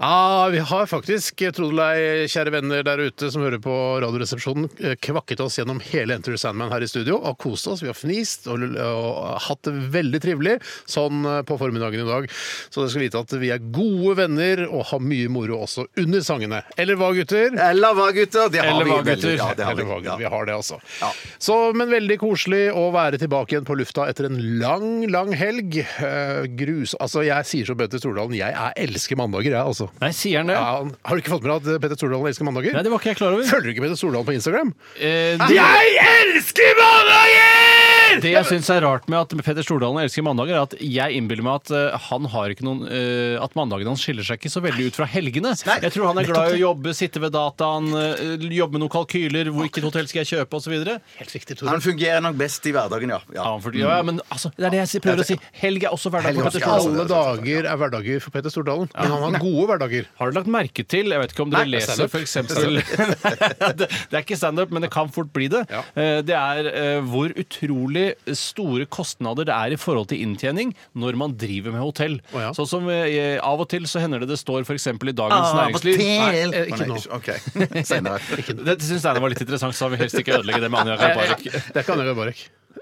Ah, vi har faktisk, tro det eller ei, kjære venner der ute som hører på Radioresepsjonen, eh, kvakket oss gjennom hele Enter the Sandman her i studio og kost oss. Vi har fnist og, og hatt det veldig trivelig sånn eh, på formiddagen i dag. Så dere skal vite at vi er gode venner og har mye moro også under sangene. Eller hva, gutter? Eller hva, gutter? Det har Eller vi hva, veldig- gutter? Ja, det har Eller hva, vi. Ja. gutter. Vi har det, altså. Så, men veldig koselig å være tilbake igjen på lufta etter en lang, lang helg. Eh, grus... Altså, jeg sier som Petter Stordalen, jeg er elsker mandager, jeg, altså. Nei, sier han det? Ja, han- har du ikke fått med deg at Petter Stordalen elsker mandager? Nei, det var ikke jeg klar over. Følger du ikke Petter Stordalen på Instagram? Eh, Ah, det, elsker mandager! det jeg syns er rart med at Petter Stordalen elsker mandager, er at jeg innbiller meg at eh, han har ikke noen eh, At mandagene hans skiller seg ikke så veldig ut fra helgene. Jeg tror han er glad i å jobbe, sitte ved dataen, eh, jobbe med noen kalkyler, hvor hvilket hotell skal jeg kjøpe, osv. Helt riktig, Han Tore. fungerer nok best i hverdagen, ja. Ja, ja. han får- ja, ja, men altså, det er det jeg sier- prøver å si. Helg er også hverdag Helg er for Petter også- Stordalen. Alle dager er hverdager for Petter Stordalen, men han har gode hverdager. Har du lagt merke til Jeg vet ikke om dere Nei, leser standup. for eksempel det, det er ikke standup, men det kan fort bli det. Ja. Eh, Det er eh, hvor utrolig store kostnader det er i forhold til inntjening når man driver med hotell. Å ja. Sånn som eh, Av og til så hender det det står f.eks. i Ah, Dagens Av og Næringsliv til. eh, ikke Å, nei, nå. OK. Senere. Dette syns Steinar var litt interessant, så han vil helst ikke ødelegge det med Anja Rabarek. Det er ikke Anja Garbarek.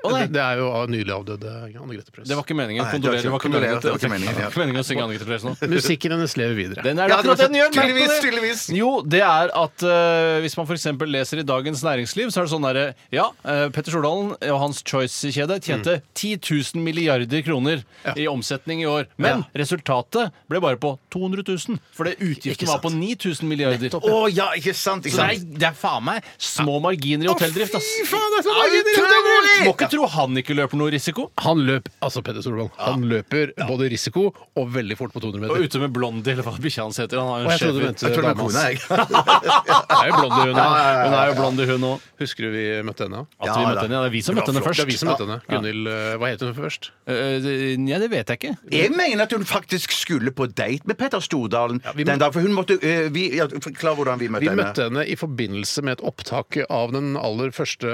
nei. Det er jo av nylig avdøde Anne Grete Preus. Det var ikke meningen. Nei, det var Kondolerer. Det var ikke meningen, kondolerer, det var ikke meningen, ja. Det var ikke meningen å synge Anne Grete Preus nå. Musikken hennes lever videre. Den er Ja, det akkurat det var- den gjør. merk på tydeligvis, det. tydeligvis. Jo, det er at eh, hvis man f.eks. leser i Dagens Næringsliv, så er det sånn derre Ja, eh, Petter Stordalen og hans Choice-kjede tjente 10 000 milliarder kroner i omsetning i år. Men resultatet ble bare på 200 000, for det utgiften var på 9000 milliarder. Å ja, ikke sant? Ikke Så det er, sant? det er faen meg små marginer i hotelldrift, ass. Utrolig! Må ikke tro han ikke løper noe risiko. Han løp, altså Peder Solvang, han løper både risiko og veldig fort på 200 Og meter. ute med Blondie, eller hva bikkja hans heter. Han har jo Og en jeg trodde du schæfer. mente Jeg tror det var dama kona, hans. jeg. Hun er jo blond, hun òg. Hun er jo blond, hun òg. Husker du vi møtte henne? At vi Ja, da. møtte henne, ja, Det er vi som møtte henne først. Det er vi som møtte henne. Gunhild, eh, hva het hun først? Eh, det- Nja, det vet jeg ikke. Jeg mener at hun faktisk skulle på date med Petter Stordalen vi må- den dagen. For hun måtte eh, vi, ja, Forklar hvordan vi møtte Vi henne. møtte henne i forbindelse med et opptak av den aller første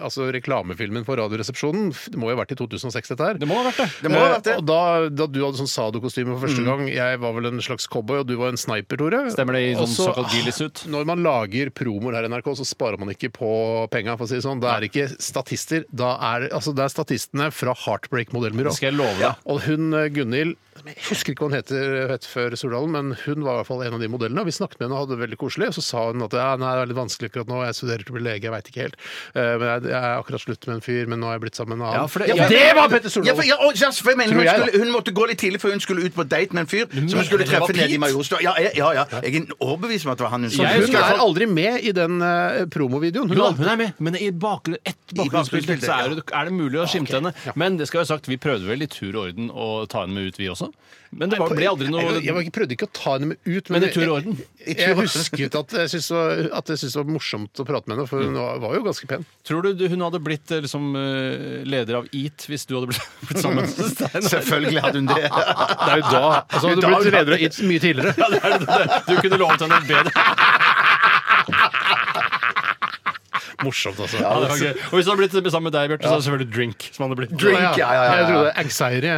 altså reklamefilmen for Radioresepsjonen. Det må jo ha vært i 2006, dette her. Det må ha vært det. Mm. Det må ha vært det. Eh, Og da, da du hadde sånn Sado-kostyme for første gang, jeg var vel en slags cowboy, og du var en sniper, Tore. Stemmer det, i Og sånn så- såkalt ghillie-suit. Når man lager promoer her i NRK, så sparer man ikke på penga, for å si det sånn. Da er det ikke statister, da er det- altså, det er statistene fra Heartbreak Modellbyrå. Det skal jeg love deg. Og hun eh, Gunhild jeg husker ikke hva hun heter het før Stordalen, men hun var i hvert fall en av de modellene. Vi snakket med henne og hadde det veldig koselig. Og så sa hun at ja, nei, det er litt vanskelig akkurat nå, jeg studerer til å bli lege, jeg veit ikke helt. Eh, Men jeg, jeg er akkurat slutt med en fyr, men nå har jeg blitt sammen med en annen. Ja, for det- Ja, jeg- det var Petter Ja, for, Stordalen! ja, og, ja, for jeg mener, Tror hun, jeg, skulle, hun måtte gå litt tidlig før hun skulle ut på date med en fyr som hun skulle det var treffe nede i Pete? Majorstua. Ja, ja, ja, ja. Jeg er overbevist om at det var han hun Så Jeg hun husker i hvert er aldri med i den eh, promovideoen. Hun Jo, er hun er med, men i bakgrunn, et bakgrunnsbilde bakgrunnsbildet, så er det, er det mulig å skimte henne. ja. Men det skal jo sagt, vi prøvde vel i tur og orden å ta henne med ut, vi også. Men det var, ble aldri Jeg, jeg var noe ikke, prøvde ikke å ta henne med ut, Men i tur og orden. Jeg, jeg husket at jeg syntes det var- at jeg syntes det var morsomt å prate med henne, for hun var, var jo ganske pen. Tror du hun hadde blitt eh, liksom, eh, leder av EAT hvis du hadde blitt, blitt sammen med Steinar? Selvfølgelig hadde hun det. Det er jo da altså, Hadde du Da- blitt leder av It's mye tidligere. Ja, det er det, det. Du kunne lovet henne en bedre Morsomt, altså. ja, det var gøy. Og hvis hun hadde blitt sammen med deg, Bjarte, så hadde det selvfølgelig Drink. Som hadde blitt Drink, ja, ja, ja, ja. Jeg trodde Anxiety. jeg.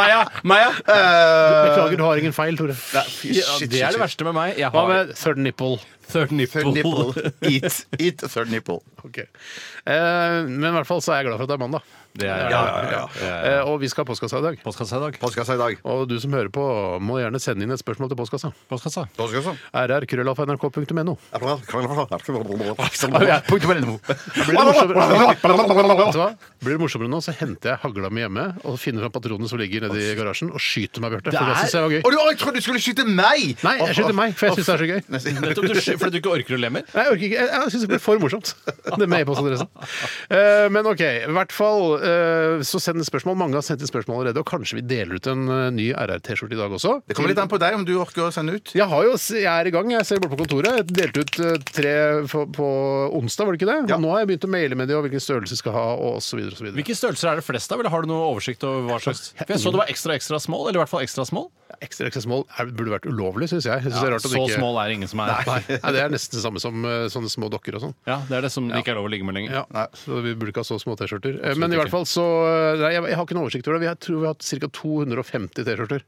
Maja! Maja! Beklager, du har ingen feil, Tore. Nei, fy, Ja, shit, det er shit, det verste med meg. Jeg Hva har med third nipple? third nipple. shit. Nipple. Eat, eat third nipple. Ok. Eh, men i hvert fall så er jeg glad for at det er mandag. Det er Ja, ja, ja. Eh, og vi skal ha postkassa i dag. postkassa i dag. Postkassa i dag. Og du som hører på, må gjerne sende inn et spørsmål til postkassa. Postkassa. Postkassa. rrkrøllalfa.nrk.no. Punkt på NMO. Blir det morsommere, Vet du hva? Blir det morsommere nå, så henter jeg hagla mi hjemme og finner fram patronene som ligger nedi garasjen, og skyter meg, Bjarte. For det syns jeg var Og gøy. du, å, jeg trodde du skulle skyte meg! Nei, jeg skyter meg, for jeg syns det er så gøy. Nettopp du, sky- fordi du ikke orker å le mer? Nei, Jeg orker ikke, jeg, jeg syns det blir for morsomt. Det med e-postadressen. Eh, men sånn. OK. I hvert fall eh, så send spørsmål. Mange har sendt inn spørsmål allerede, og kanskje vi deler ut en eh, ny RR-T-skjorte i dag også. Det kommer litt an på deg om du orker å sende ut. Jeg, har jo, jeg er i gang. Jeg ser borte på kontoret. Jeg delte ut eh, tre på, på onsdag, var det ikke det? Ja. Og nå har jeg begynt å maile med de og hvilken størrelse de skal ha, og så videre og så videre. Hvilke størrelser er det flest av? Eller har du noe oversikt over hva slags? For jeg så det var ekstra ekstra small, eller i hvert fall ekstra small. Ekstra ekstra small er, burde vært ulovlig, syns jeg. jeg synes det er rart at så det ikke... small er det ingen som er. Nei, nei, det er nesten det samme som eh, sånne små dokker og sånn. Ja, Det er det som det ikke er lov å ligge med lenger. Ja, så vi burde ikke ha så små T-skjorter. Eh, Men i hvert fall så eh, Nei, jeg, jeg har ikke noen oversikt over det. Vi har, tror vi har hatt ca. 250 T-skjorter.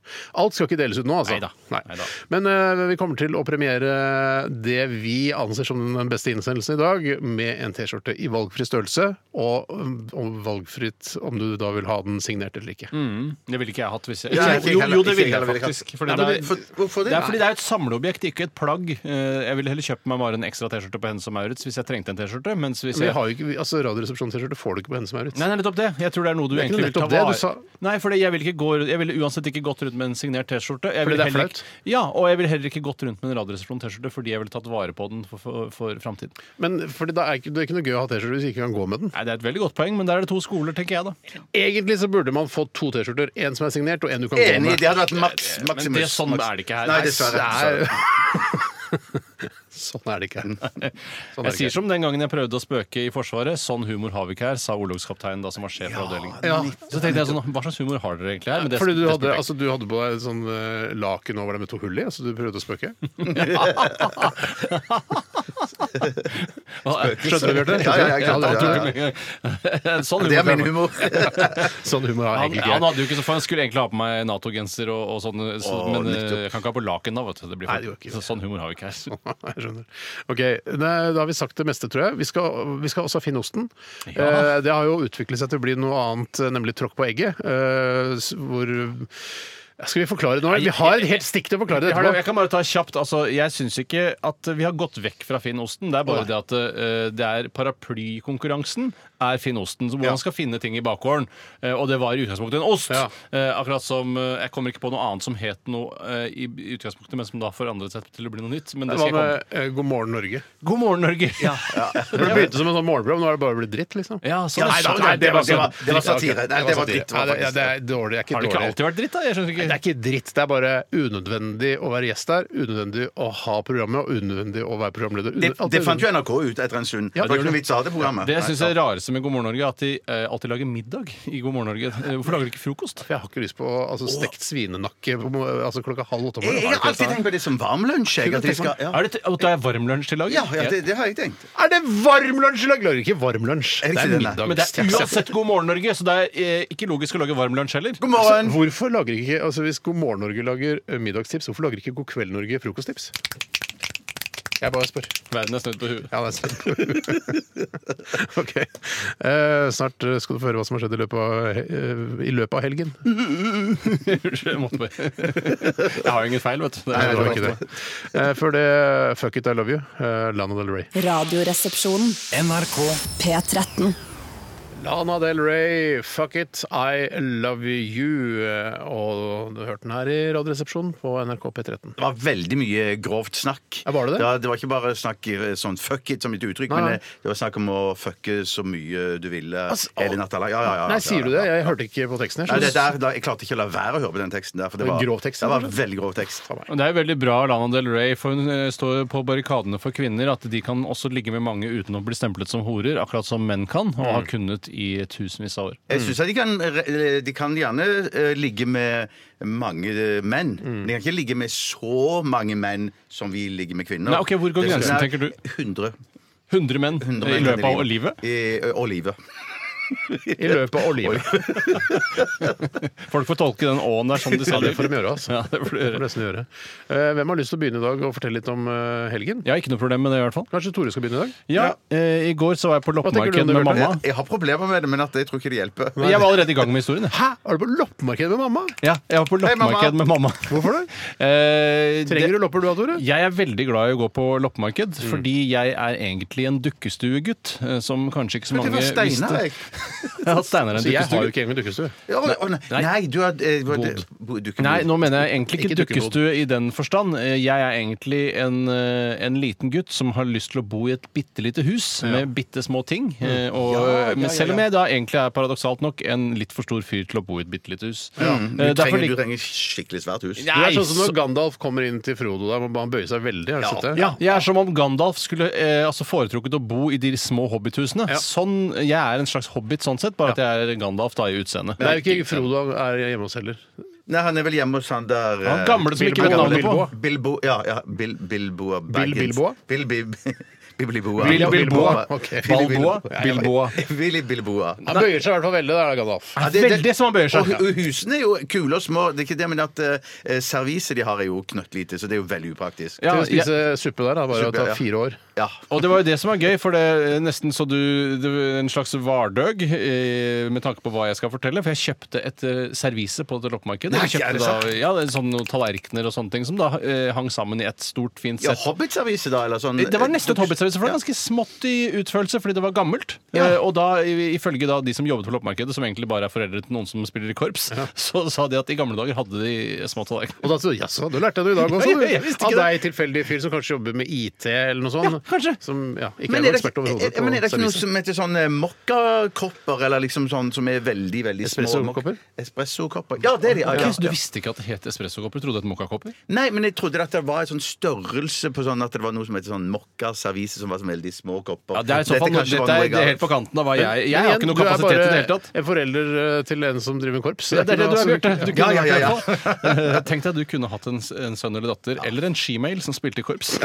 Alt skal ikke deles ut nå, altså. Neida. Neida. Men eh, vi kommer til å premiere det vi anser som den beste innsendelsen i dag, med en T-skjorte i valgfri størrelse, og, og valgfritt om du da vil ha den signert eller ikke. Mm. Det ville ikke jeg hatt hvis jeg Ja, ikke jeg Jo, heller. jo, det Ikke jeg ville jeg heller ville faktisk. Fordi Nei, det, men er, for- hvorfor det? det er fordi det er et samleobjekt, ikke et plagg. Eh, Jeg ville heller kjøpt meg bare en ekstra T-skjorte på Hennes og Maurits hvis jeg trengte en T-skjorte. Mens hvis Vi jeg har jo ikke, vi- altså Radioresepsjon-T-skjorte får du ikke på henne som er ute. Nei, det er nettopp det. Jeg tror det er noe du Det er ikke egentlig vil ta nettopp det, vare du sa- Nei, for jeg ville vil uansett ikke gått rundt med en signert T-skjorte. Jeg Fordi ville det er heller ikke- Ja, og jeg ville heller ikke gått rundt med en Radioresepsjon-T-skjorte fordi jeg ville tatt vare på den for, for, for framtiden. Men fordi det er, ikke, det er ikke noe gøy å ha T-skjorte hvis du ikke kan gå med den. Nei, det er et veldig godt poeng, men der er det to skoler, tenker jeg da. Egentlig så burde man få to T-skjorter. En som er signert, og en du kan gå Enig, med. det hadde vært maks, maksimus. Men det, sånn Maks- er det ikke her. Nei, Nei, dessverre. det dessverre. Sånn er det ikke. Sånn er Jeg det sier ikke. som den gangen jeg prøvde å spøke i Forsvaret. Sånn humor har vi ikke her, sa orlogskapteinen da som var sjef for avdelingen. Ja, Så tenkte jeg sånn, Hva slags humor har dere egentlig her? Men det- Fordi du det hadde, spurte jeg altså, du hadde på deg et sånn eh, laken over deg med to hull i, så du prøvde å spøke? ikke. Skjønner du, Bjarte? Ja, ja, jeg Ja, skjønte det det, ja, var- ja. sånn humor Det er min prøver- humor. Sånn humor har Han, jeg egentlig han ikke. hadde jo ikke så for han skulle egentlig ha på meg Nato-genser og, og sånn, så, Åh, men eh, nettopp. jeg kan ikke ha på laken da, vet du. Det blir Nei, for, det gjør ikke så, sånn humor har vi ikke her. Jeg skjønner. Ok, nei, Da har vi sagt det meste, tror jeg. Vi skal, vi skal også ha Finnosten. Ja. Eh, det har jo utviklet seg til å bli noe annet, nemlig tråkk på egget. Eh, s- hvor Skal vi forklare det nå? Vi har et helt stikk til å forklare det Jeg, har det, etterpå. jeg kan bare ta kjapt. Altså, jeg syns ikke at vi har gått vekk fra Finnosten. Det er bare det at eh, det er paraplykonkurransen er Finnosten. så Hvor man skal finne ting i bakgården. Eh, og det var i utgangspunktet en ost. Ja. Eh, akkurat som eh, Jeg kommer ikke på noe annet som het noe eh, i i utgangspunktet, men som da forandret seg til å bli noe nytt. Men det Hva skal jeg komme. med eh, God morgen, Norge? God morgen, Norge! Ja, Det begynte som en sånn morgenprogram, nå har det bare blitt dritt, liksom. sånn, nei, sånn, da, nei, det var- det sånn. var- det var satire. Nei, det var dritt, det var Nei, altså. det, ja, det er dårlig. Det er ikke Har det ikke dårlig. alltid vært dritt, da? Jeg skjønner ikke. Det er ikke dritt. Det er bare unødvendig å være gjest der, unødvendig å ha programmet, og unødvendig å være programleder. Det, Unø- alt det er fant jo NRK ut etter en stund. det Ja, var det ikke gjorde noe vits å ha det programmet. Det jeg syns er det rareste med God morgen Norge, er at de eh, alltid lager middag i God morgen Norge. Eh, Hvorfor lager de ikke frokost? unødvendig. Jeg har ikke lyst på altså, stekt svinenakke på mo- altså, klokka halv åtte om Jeg, jeg har alltid tenkt på det som varm lunsj. Jeg, at de skal, ja. Er det, at det er varmlunsj til laget? Ja, ja, det, det har jeg tenkt. Er det varmlunsj i dag? Lager ikke varmlunsj. Er det ikke det, nei? Men det er uansett God morgen Norge, så det er eh, ikke logisk å lage varmlunsj heller. God morgen! Hvorfor lager ikke, altså Hvis God morgen Norge lager eh, middagstips, hvorfor lager ikke God kveld Norge frokosttips? Jeg bare spør. Verden er snudd på huet. Ja, det er sant. OK. Eh, snart eh, skal du få høre hva som har skjedd i løpet av, eh, i løpet av helgen. Unnskyld, jeg måtte bare Jeg har jo ingen feil, vet du. Det er- Nei, det var ikke det. Eh, Før det, Fuck It I Love You, eh, Lana Del Rey. Radioresepsjonen. NRK P13. Lana Del Rey, Fuck It I Love You. eh, Og du hørte den her i Radioresepsjonen på NRK P13. Det var veldig mye grovt snakk. Ja, var det det? Ja, det var ikke bare snakk i sånn fuck it som et uttrykk, Nei, nei. men eh, det var snakk om å fucke så mye du ville Altså, hele natta lang. Ja, ja, ja, ja, Nei, sier du ja, det? ja. Jeg hørte ikke på teksten. Nei, her. det der, da, jeg klarte ikke å la være å høre på den teksten der. For det Det er var, grov tekst, det var eller? veldig grov tekst. Men Det er jo veldig bra Lana Del Rey, for hun eh, står på barrikadene for kvinner, at de kan også ligge med mange uten å bli stemplet som horer, akkurat som menn kan, og har kunnet i tusenvis av år. Mm. Jeg syns at de kan, re- de kan gjerne eh, ligge med mange eh, menn. Mm. De kan ikke ligge med så mange menn som vi ligger med kvinner. Nei, ok, hvor går Det synes grensen, jeg er tenker 100. du? 100 menn 100 i menn løpet av livet. I, ø, og livet. I løpet av livet. Folk får tolke den åen der som de Ja, selv det får de gjøre, altså. Ja, det får de Får gjøre. nesten gjøre. Eh, Hvem har lyst til å begynne i dag og fortelle litt om eh, helgen? Jeg har ikke noe problem med det, i hvert fall. Kanskje Tore skal begynne i dag? Ja, eh, I går så var jeg på tenker du loppemarked om det, med Bjarte? mamma. Jeg har problemer med det, men at jeg tror ikke det hjelper. Jeg var allerede i gang med historien. jeg. Hæ? Er du på loppemarked med mamma? Ja, jeg var på Hei, mamma. loppemarked med mamma. Hvorfor det? Eh, Trenger det- du lopper Mm. du da, Tore? Jeg er veldig glad i å gå på loppemarked, fordi jeg er egentlig en dukkestuegutt. eh, Som kanskje ikke så Men det mange var Steinar, visste. jeg. Jeg har hatt Steinar en Så jeg har jo dukkestue. ikke engang dukkestue. Ja, å, nei. Nei. nei, du har eh, hva- Bodd. bo- du kan Nei, bo- nå mener jeg egentlig ikke Ikke dukkebod. dukkestue i den forstand. Eh, Jeg er egentlig en, eh, en liten gutt som har lyst til å bo i et bitte lite hus med bitte små ting. Mm. eh, Og, Men selv om jeg da egentlig er paradoksalt nok en litt for stor fyr til å bo i et bitte lite hus. Du Eh, derfor trenger, du lik- trenger skikkelig svært hus. Det er Nei, sånn som når så- Gandalf kommer inn til Frodo der, må han bøye seg veldig. Har du sett det? Ja, jeg er som om Gandalf skulle eh, altså foretrukket å bo i de små hobbithusene. Ja. Sånn, jeg er en slags hobbit sånn sett, bare at jeg er Gandalf da i utseendet. Men det er jo ikke Frodo er hjemme hos heller. Nei, han er vel hjemme hos han der eh, Han gamle som ikke vet Bilbo. navnet på. Bilbo. Bilbo Ja, ja Bil, Bilboa Baggins. Bilboa? Bil, Bil, Bilboa. Billy Bilboa. Ok. Balboa. Bilboa. Billy Bilboa. Han bøyer seg i hvert fall veldig, da er det Gandalf. Ja, det- det- Veldig som han bøyer seg. Og hu- husene er jo kule og små, det er ikke det, men at eh, serviset de har, er jo knøttlite, så det er jo veldig upraktisk. Ja, Til å jeg- spise suppe der, da. Bare Suppe, ja. å ta fire år. Ja. Og det var jo det som var gøy, for det er nesten så du det var En slags vardøg eh, med tanke på hva jeg skal fortelle. For jeg kjøpte et eh, servise på et loppemarked. Nei, er Jeg kjøpte det da, sant? ja, det er sånn noen tallerkener og sånne ting som da eh, hang sammen i et stort, fint Ja, sett. Hobbit-servise, da? Eller sånn, Det var nesten et eh, hobbitservice, for det var ganske smått i utførelse fordi det var gammelt. Eh, Og da, i- ifølge da de som jobbet på loppemarkedet, som egentlig bare er foreldre til noen som spiller i korps, så sa de at i gamle dager hadde de små tallerkener. Og da så, jaså, du lærte det i dag også, Ja, du. jeg- jeg visste Av ikke deg tilfeldig fyr som kanskje jobber med IT eller noe sånt. Ja, kanskje. eh, Som ja, ikke Men er er, noen det, ekspert ikke- overhodet er, men er det ikke på noe servise. som heter sånn eh, mokkakopper, eller liksom sånn som er veldig, veldig små? Espressokopper? Espressokopper. Ja, det er de. Ja, ja. Chris, du visste ikke at det het espressokopper? Du Trodde det het moccakopper? Nei, men jeg trodde at det var en sånn størrelse på sånn at det var noe som heter sånn mokkaservise, som var sånn veldig små kopper. Ja, det er i så fall kanskje dette var noe jeg er, det er har- helt på kanten av hva Men jeg Jeg har igjen, ikke noe du er kapasitet i bare det hele tatt. En forelder eh, til en som driver med korps. Ja, det er det du er, Bjarte. Du Ja, kunne ja, ja, ja. vært det på. Tenk deg at du kunne hatt en, en sønn eller datter, eller en shemale som spilte i korps.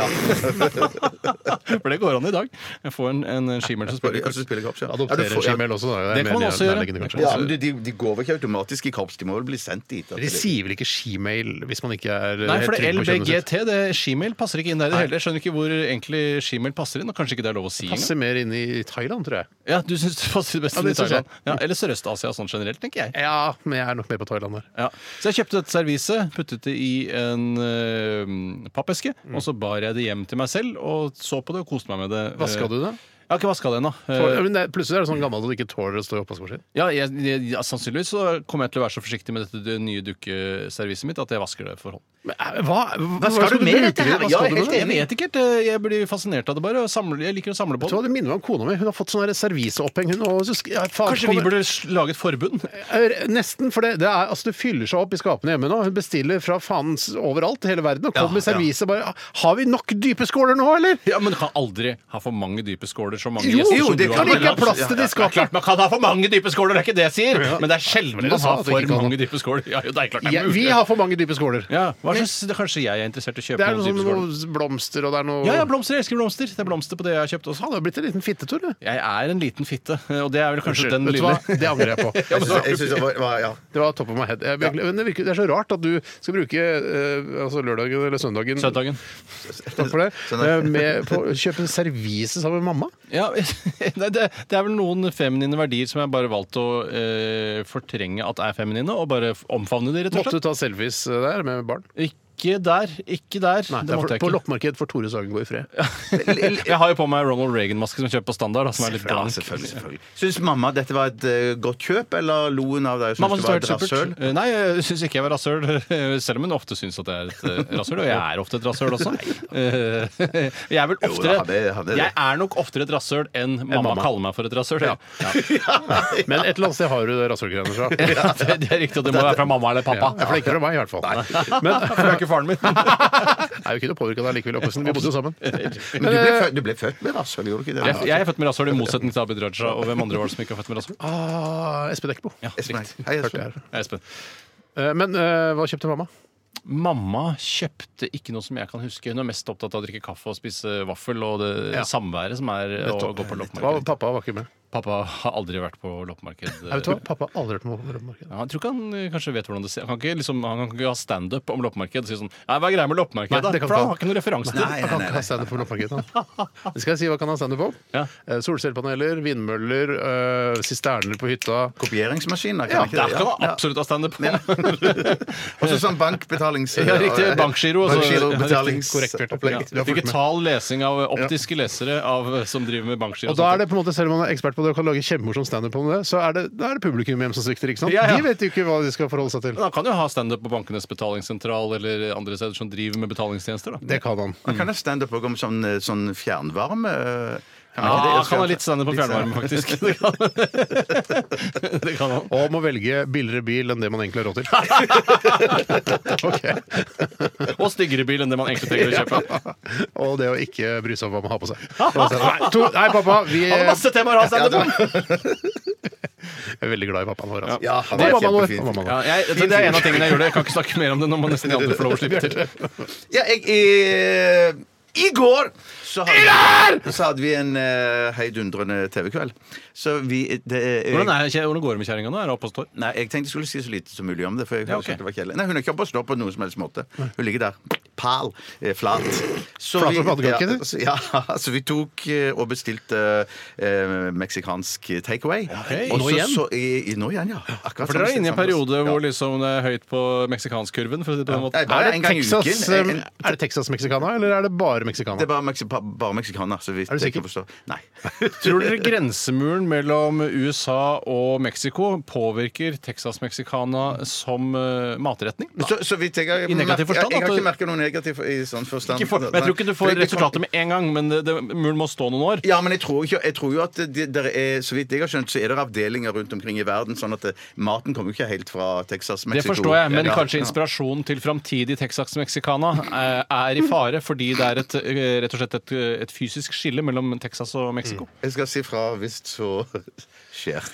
For det går an i dag. Jeg får en, en shemale som spiller i Ja, korps. så spiller korps, ja. Ja, du Adoptere får- ja. skimel også, da. er Det kan mer man også gjøre. nærliggende, kanskje. Ja, men de, de, de går vel ikke automatisk i korps, de må vel bli sendt dit. altså. at De det- sier vel ikke skimail hvis man ikke er eh, Nei, for helt trygg det på kjønnet sitt? LBGT, det shemale, passer ikke inn der i det hele. Jeg skjønner ikke hvor egentlig shemale passer inn, og kanskje ikke det er lov å si engang. Passer mer inn i Thailand, tror jeg. Ja, du syns det passer best Ja, inn i det synes jeg. Thailand. Ja, eller Sørøst-Asia sånn generelt, tenker jeg. Ja, men jeg er nok mer på Thailand der. Ja. Så jeg kjøpte dette serviset, puttet det i en eh, pappeske, Mm. og så bar jeg det hjem til meg selv og så på det og koste meg med det. Eh, Vaska du det? Jeg har ikke vaska det ennå. Tål- Eh, Men det er- plutselig er det sånn gammelt at du ikke tåler å stå i oppvaskmaskinen. Eh, ja, jeg, jeg, ja, sannsynligvis så kommer jeg til å være så forsiktig med dette det nye dukkeserviset mitt at jeg vasker det for hånd. Men, eh, Hva, hva skal du med bruke dette her? Hva Ja, skal du med helt det? Jeg vet ikke helt. eh, Jeg blir fascinert av det bare. Og samler, jeg liker å samle på Vet du det. hva, Det minner meg om kona mi. Hun har fått sånn her serviseoppheng. Hun, og så, sk- ja, faen, Kanskje vi kommer- burde s- lage et forbund? Eh, Nesten, for det, det, er, altså, det fyller seg opp i skapene hjemme nå. Hun bestiller fra faen s- overalt i hele verden og kommer med servise. Bare, har vi nok dype skåler nå, eller? Ja, Men du kan aldri ha for mange dype skåler. Så mange Jo, gjester jo, som det du kan har. ikke ha plass til de Ja, ja, skapene. klart man kan ha for mange dype skåler, det er ikke det jeg sier. Men det er sjelden Men man dere sa har at vi for ikke kan ha- mange dype skåler. Ja, jo, det er klart det Ja, er mulig. vi har for mange dype skåler. Ja, hva slags, det, Kanskje jeg er interessert i å Det kjøpe er noen noe dype skåler? sånn blomster og det er noe Ja, ja, blomster. Jeg elsker blomster. Det er blomster på det jeg har kjøpt også. Faen, det har blitt en liten fittetur, det. Jeg er en liten fitte, og det er vel Unnskyld, kanskje den vet du lille hva? Det angrer jeg på. Jeg synes- jeg synes det var, var, ja. Det var top of my head. Jeg, beklager- men det, virker, det er så rart at du skal bruke eh, altså lørdagen eller søndagen søndagen. Takk for det. Søndag. eh, med, på, kjøpe en servise sammen med mamma. Ja, nei, det, det er vel noen feminine verdier som jeg bare valgte å eh, fortrenge at er feminine, og bare omfavne de, rett og Måtte du slett. ta selfies eh, der med barn? Ikke der. Ikke der. det det er for, måtte jeg på ikke. loppemarked får Tore Sagen gå i fred. Jeg har jo på meg Ronald Reagan-maske som jeg kjøper på standard. Da, som er litt Ja, blank. selvfølgelig. selvfølgelig. Syns mamma dette var et eh, godt kjøp, eller lo hun av deg? og syntes Mamma det synes var det var et helt supert. rasshøl? Eh, Nei, jeg syns ikke jeg var rasshøl. Selv om hun ofte syns at jeg er et eh, rasshøl. Og jeg er ofte et rasshøl også. Eh, Jeg er vel Jo, da, han er- oftere han er det. Jeg er nok oftere et rasshøl enn mamma mamma. kaller meg for et rasshøl. Ja. Men et eller annet sted har du det rasshølgreiene fra. Ja, det det er riktig, og det må være fra mamma eller Ja, pappa. for det er ikke fra meg, i hvert fall. For det er ikke faren min. Jeg er jo ikke noe påvirka av deg likevel. oppveksten. Vi bodde jo sammen. Men du ble, født, du ble født med rasshøl, gjorde du ikke det? Eh, Jeg, jeg er født med rasshøl, i motsetning til Abid Raja. Og hvem andre var det som ikke var født med rasshøl? Ah, Espen Eckbo. Ja, Espen, riktig. hei, Hørte jeg Espen. her. Ja, Espen. Eh, Men eh, hva kjøpte mamma? Mamma kjøpte ikke noe som jeg kan huske. Hun er mest opptatt av å drikke kaffe og spise vaffel og det Ja. samværet som er å gå på Hva, loppemarked. pappa var ikke med. Pappa har aldri vært på loppemarked. Jeg vet du hva? Pappa har aldri vært med på loppemarked. Ja, jeg tror ikke han eh, kanskje vet hvordan det ser Han kan ikke, liksom, han kan ikke ha standup om loppemarked og si sånn Nei, hva er greia med Nei, loppemarked, da? det kan ikke For han han. har ikke noen referanse til det. Han kan ikke ha standup på loppemarked. han. Det skal jeg si hva kan han ha standup på. Ja. Eh, Solcellepaneler, vindmøller, eh, sisterner på hytta. Kopieringsmaskiner, kan Ja, ikke Der det? kan Ja. man absolutt ha standup. Ja, Og så sånn bankbetalings... riktig. Bankgiro. og så- Bankgirobetalings- Ja, riktig, korrekt, Bjarte. opplegg. Ja. sånn Digital lesing av optiske lesere av, som driver med bankgiro. Og da er det på en måte, selv om man er ekspert på det og kan lage kjempemorsom standup om det, så er det, da er det publikum hjem som svikter. ikke sant? Ja, ja. De vet jo ikke hva de skal forholde seg til. Men han kan jo ha standup på Bankenes betalingssentral eller andre steder som driver med betalingstjenester. da. Det kan han. Man kan ha standup også om sånn, eh, sånn fjernvarme. eh, Kan man Ja, ikke det? han Ah, kan ha litt standup på sånn. fjernvarme, faktisk. Det kan, det kan han. Og må velge billigere bil enn det man egentlig har råd til. Ok. Og styggere bil enn det man egentlig trenger å kjøpe. Og det å ikke bry seg om hva man har på seg. Nei, to, nei pappa, vi Han eh, har masse temaer å ha standup om! Jeg er veldig glad i pappaen vår. Altså. Ja, han Og er mammaen vår. kjempefin. Og mammaen Ja, vår. jeg, det er en av tingene jeg gjorde. Jeg kan ikke snakke mer om det når man nesten de andre får lov å slippe til. Ja, jeg eh, I går så hadde, vi, så hadde vi en eh, heidundrende TV-kveld. Så vi det, eh, Hvordan, er, kje- hvordan går det med kjerringa nå? Er hun oppe og står? Nei, jeg tenkte jeg skulle si så lite som mulig om det. For jeg Ja, hørte ok. at det var kjedelig. Nei, Hun er ikke oppe og står på noen som helst måte. Hun ligger der. Pal. eh, Flat. Så Flat som ja, pannekaker, du? så- ja, så vi tok eh, og bestilte eh, meksikansk takeaway. hei. Og Nå så- igjen? så- i- i- Nå igjen, ja. Akkurat For dere samme er sted inne i en som oss. periode Ja. hvor liksom det er høyt på meksikansk-kurven, for å si det på den Nei, måten. bare Er en det gang i Texas, uken. um, En- er det Texas mexicana, eller er det bare Det er mexicana? bare, meksi pa- bare meksikaner. Så vidt Er du jeg kan sikker? forstå. Nei. Tror dere grensemuren mellom USA og Mexico påvirker Texas-mexicana som eh, matretning? Så, så vidt jeg har I merket- negativ forstand, Jeg, jeg har at ikke du- merka noe negativt i sånn forstand. Ikke for, jeg tror ikke du For får jeg- jeg kom- resultatet med en gang, men det, det, muren må stå noen år. Ja, men jeg tror, ikke, jeg tror jo at det, der er, så vidt jeg har skjønt, så er det avdelinger rundt omkring i verden, sånn at det, maten kommer jo ikke helt fra Texas, Det Mexico. forstår jeg, men Ja, kanskje ja. inspirasjonen til framtidig Texas-mexicana eh, er i fare, fordi det er et, eh, rett og slett et, eh, et fysisk skille mellom Texas og Mexico. Jeg skal si fra hvis så skjer.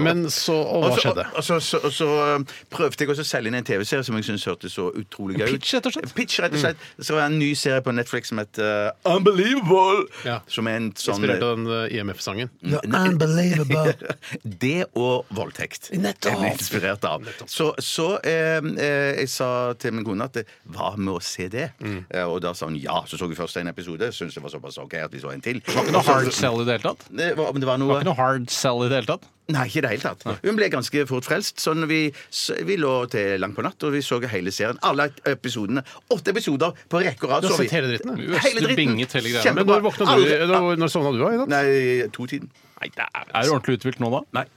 Men så Og hva Og så- skjedde? Og så, så, og så um, prøvde jeg også å selge inn en TV-serie som jeg syntes hørtes så utrolig gøy ut. Pitch, rett og slett. Mm. Pitch, rett og slett. Så var det en ny serie på Netflix som het uh, Unbelievable! Ja. Som er en sånn Inspirert av den eh, IMF-sangen. Unbelievable. Det og voldtekt. Nettopp. Jeg ble inspirert av. Så, så eh, eh, jeg sa til min kone at eh, hva med å se det? Eh, og da sa hun ja. Så så vi først en episode. Syntes det var såpass OK at vi så en til. Ikke noe hard sell i det hele tatt? Det var, men det var noe Ikke noe hard sell i det hele tatt? Nei, ikke i det hele tatt. Hun ble ganske fort frelst. Sånn vi, s- vi lå til langt på natt, og vi så hele serien. Alle episodene. Åtte episoder på rekke og rad. Du har så vi. sett hele dritten, ja. Hele Du dritten. binget hele greia. Men Kjempebra. når våkna du? Alle- Når, når sovna du av i natt? Nei, to-tiden. Er du ordentlig uthvilt nå, da? Nei.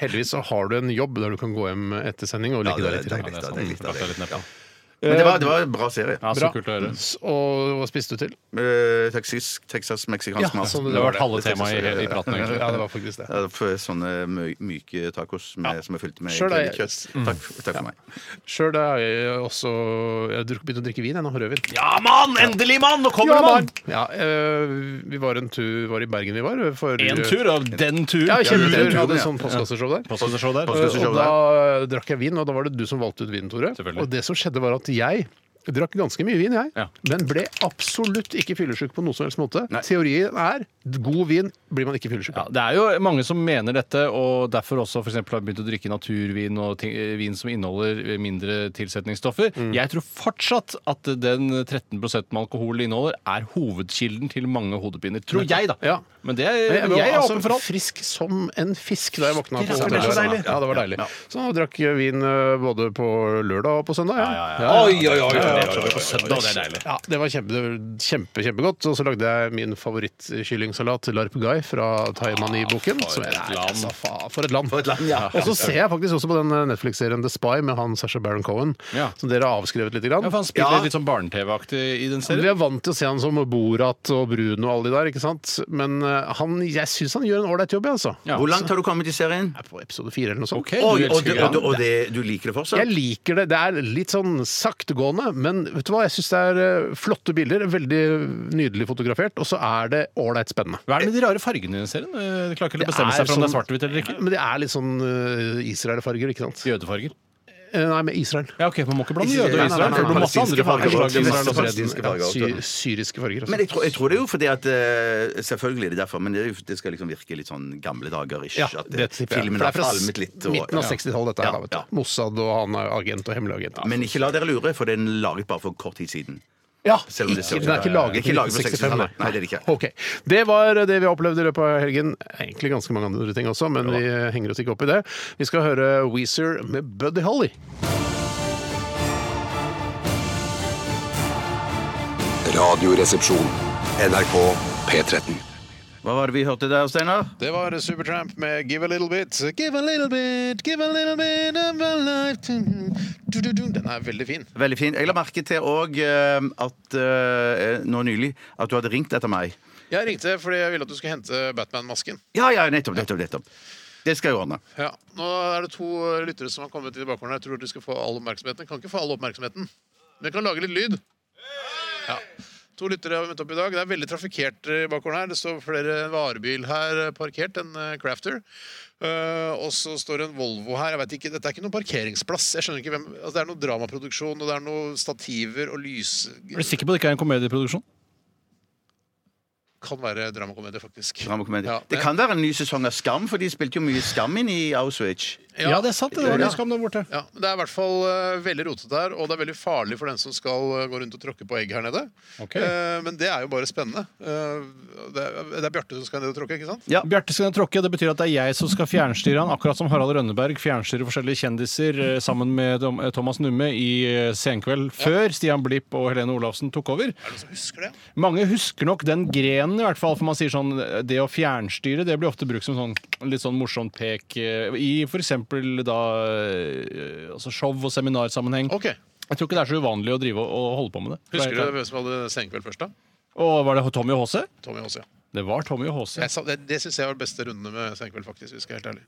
Heldigvis så har du en jobb der du kan gå hjem etter sending og Ja, legge det deg er litt. deilig. litt til. Ja, det er sant. av Slapp deg litt ned på. Men det var, det var en bra serie. Ja, Mm. så Bra. kult å høre. S- Og hva spiste du til? Eh, Texas, Texas meksikansk mat. sånn Det har vært halve temaet i, i praten, egentlig. Ja, det var faktisk det. Ja, for Sånne my- myke tacos med, som er fylt med Selv er jeg- Mm. grillkjøtt. Takk, f- takk for meg. Sjøl har jeg også jeg har drukket- begynt å drikke vin, jeg nå. Rødvin. Ja, mann! Endelig, mann! Nå kommer mann! Ja, eh, vi var en tur var i Bergen, vi var. For, En tur av den turen. Ja, kjempetur. den turen, Hadde ja. sånn postkasseshow der. Postkasseshow der. Eh, Postkasseshow Og da eh, drakk jeg vin, og da var det du som valgte ut vinen, Tore. Selvfølgelig. Og det som skjedde, var at jeg drakk ganske mye vin, jeg, Ja. men ble absolutt ikke fyllesyk på noen som helst måte. Teorien er god vin blir man ikke fyllesyk Ja, av. det er jo mange som mener dette, og derfor også for eksempel har begynt å drikke naturvin og ting, eh, vin som inneholder mindre tilsetningsstoffer. Jeg tror fortsatt at den 13 med alkohol det inneholder, er hovedkilden til mange hodepiner. Tror jeg, da. Ja. Men det er, Men jeg, jeg var er altså åpen for alt. frisk som en fisk da jeg våkna. på Det er så hotellet. deilig. Ja, det var deilig. Så nå drakk jeg vin eh, både på lørdag og på søndag. Ja, ja, ja. Ja, det var kjempe, det var kjempe, kjempegodt. Og så lagde jeg min favorittkyllingsalat, larp gai, fra Taimani-boken. for som er- et nei, land. altså, fa- For et land! Og så ser jeg faktisk også på den eh, Netflix-serien The Spy med han Sasha Baron Cohen, Ja. som dere har avskrevet litt. Grann. Ja, for han spiller litt sånn barne-TV-aktig i den Vi serien. er vant til å se han som Borat og Brun og alle de der, ikke sant? Men eh, han, jeg syns han gjør en ålreit jobb, jeg, altså. Ja. Hvor langt har du kommet i serien? Jeg er På episode fire eller noe sånt. Ok, Og, du og, elsker du- og, du- og det, du liker det Jeg fortsatt? liker det. Det er litt sånn saktegående, men vet du hva? jeg syns det er eh, flotte bilder. Veldig nydelig fotografert, og så er det ålreit spennende. Hva er det med de rare fargene i den serien? Eh, De klarer ikke å bestemme seg for om det er svart-hvitt eller ikke. Men det er litt sånn eh, Israel-farger, ikke sant? Jødefarger. Eh, Nei, med Israel. Ja, ok, Man må ikke blande Ikke- jøde og nei, nei, Israel. nei, for Det blir masse palestinske andre farger farger. også. bak Israel Masse også. palestinske farger også. sy syriske farger. Men jeg tror, jeg tror det er jo fordi at eh, Selvfølgelig er det derfor, men det, er jo- det skal liksom virke litt sånn gamle dager-ish. ja, at det det, tipper jeg. filmen For det har er fra falmet litt. Og, midten av ja. 60-tallet, dette Ja, her. da, vet ja. du. Mossad og han er agent og hemmelig agent. Men ikke la dere lure, for den er laget bare for kort tid siden. Ja, Selv om det ser ikke, ut den er som- ikke laget Ikke i laget på 1965, 65, nei. Nei, det er det ikke. Ok. Det var det vi har opplevd i løpet av helgen. Egentlig ganske mange andre ting også, men vi henger oss ikke opp i det. Vi skal høre Weezer med Buddy Holly. Radioresepsjon. NRK P13. Hva var det vi hørte der, Steinar? Det var Supertramp med 'Give a Little Bit'. Give a little bit, give a little bit of my life to du, du, du. Den er veldig fin. Veldig fin. Jeg la merke til òg at eh, nå nylig at du hadde ringt etter meg. Jeg ringte fordi jeg ville at du skulle hente Batman-masken. Ja, ja, nettopp, nettopp, nettopp. Det skal jeg ordne. Ja. Nå er det to lyttere som har kommet i bakgården. Jeg tror du skal få all oppmerksomheten. Jeg kan ikke få all oppmerksomheten, men jeg kan lage litt lyd. Ja. To lyttere har møtt opp i dag. Det er veldig trafikkert i bakgården her. Det står flere varebil her eh, parkert, en eh, Crafter. Eh, og så står det en Volvo her. Jeg vet ikke, Dette er ikke noen parkeringsplass. Jeg skjønner ikke hvem, altså Det er noe dramaproduksjon, og det er noe stativer og lys... Er du sikker på at det ikke er en komedieproduksjon? Kan være dramakomedie, faktisk. Dramakomedie. Ja, det kan være en ny sesong av Skam, for de spilte jo mye Skam inn i Auschwitz. Ja, det er sant. Det var det skam der borte. Ja, men Det er i hvert fall eh, veldig rotete her, og det er veldig farlig for den som skal eh, gå rundt og tråkke på egg her nede. Ok. Eh, men det er jo bare spennende. Eh, det er, det er Bjarte som skal ned og tråkke, ikke sant? Ja. Bjarte skal tråkke. Det betyr at det er jeg som skal fjernstyre han, akkurat som Harald Rønneberg fjernstyrer forskjellige kjendiser eh, sammen med Tom- eh, Thomas Numme i eh, Senkveld før Stian Blipp og Helene Olafsen tok over. Er det noen som husker det? Mange husker nok den grenen, i hvert fall, for man sier sånn Det å fjernstyre det blir ofte brukt som sånn litt sånn morsomt pek eh, i f.eks. da eh, altså show- og seminarsammenheng. Ok, Jeg tror ikke det er så uvanlig å drive og- og holde på med det. Husker du hvem som hadde senkveld først, da? Og var det Tommy og HC? Tommy Aas, ja. Det var Tommy og HC. Jeg sa- Det, det syns jeg var de beste rundene med senkveld, faktisk. hvis Jeg er helt ærlig.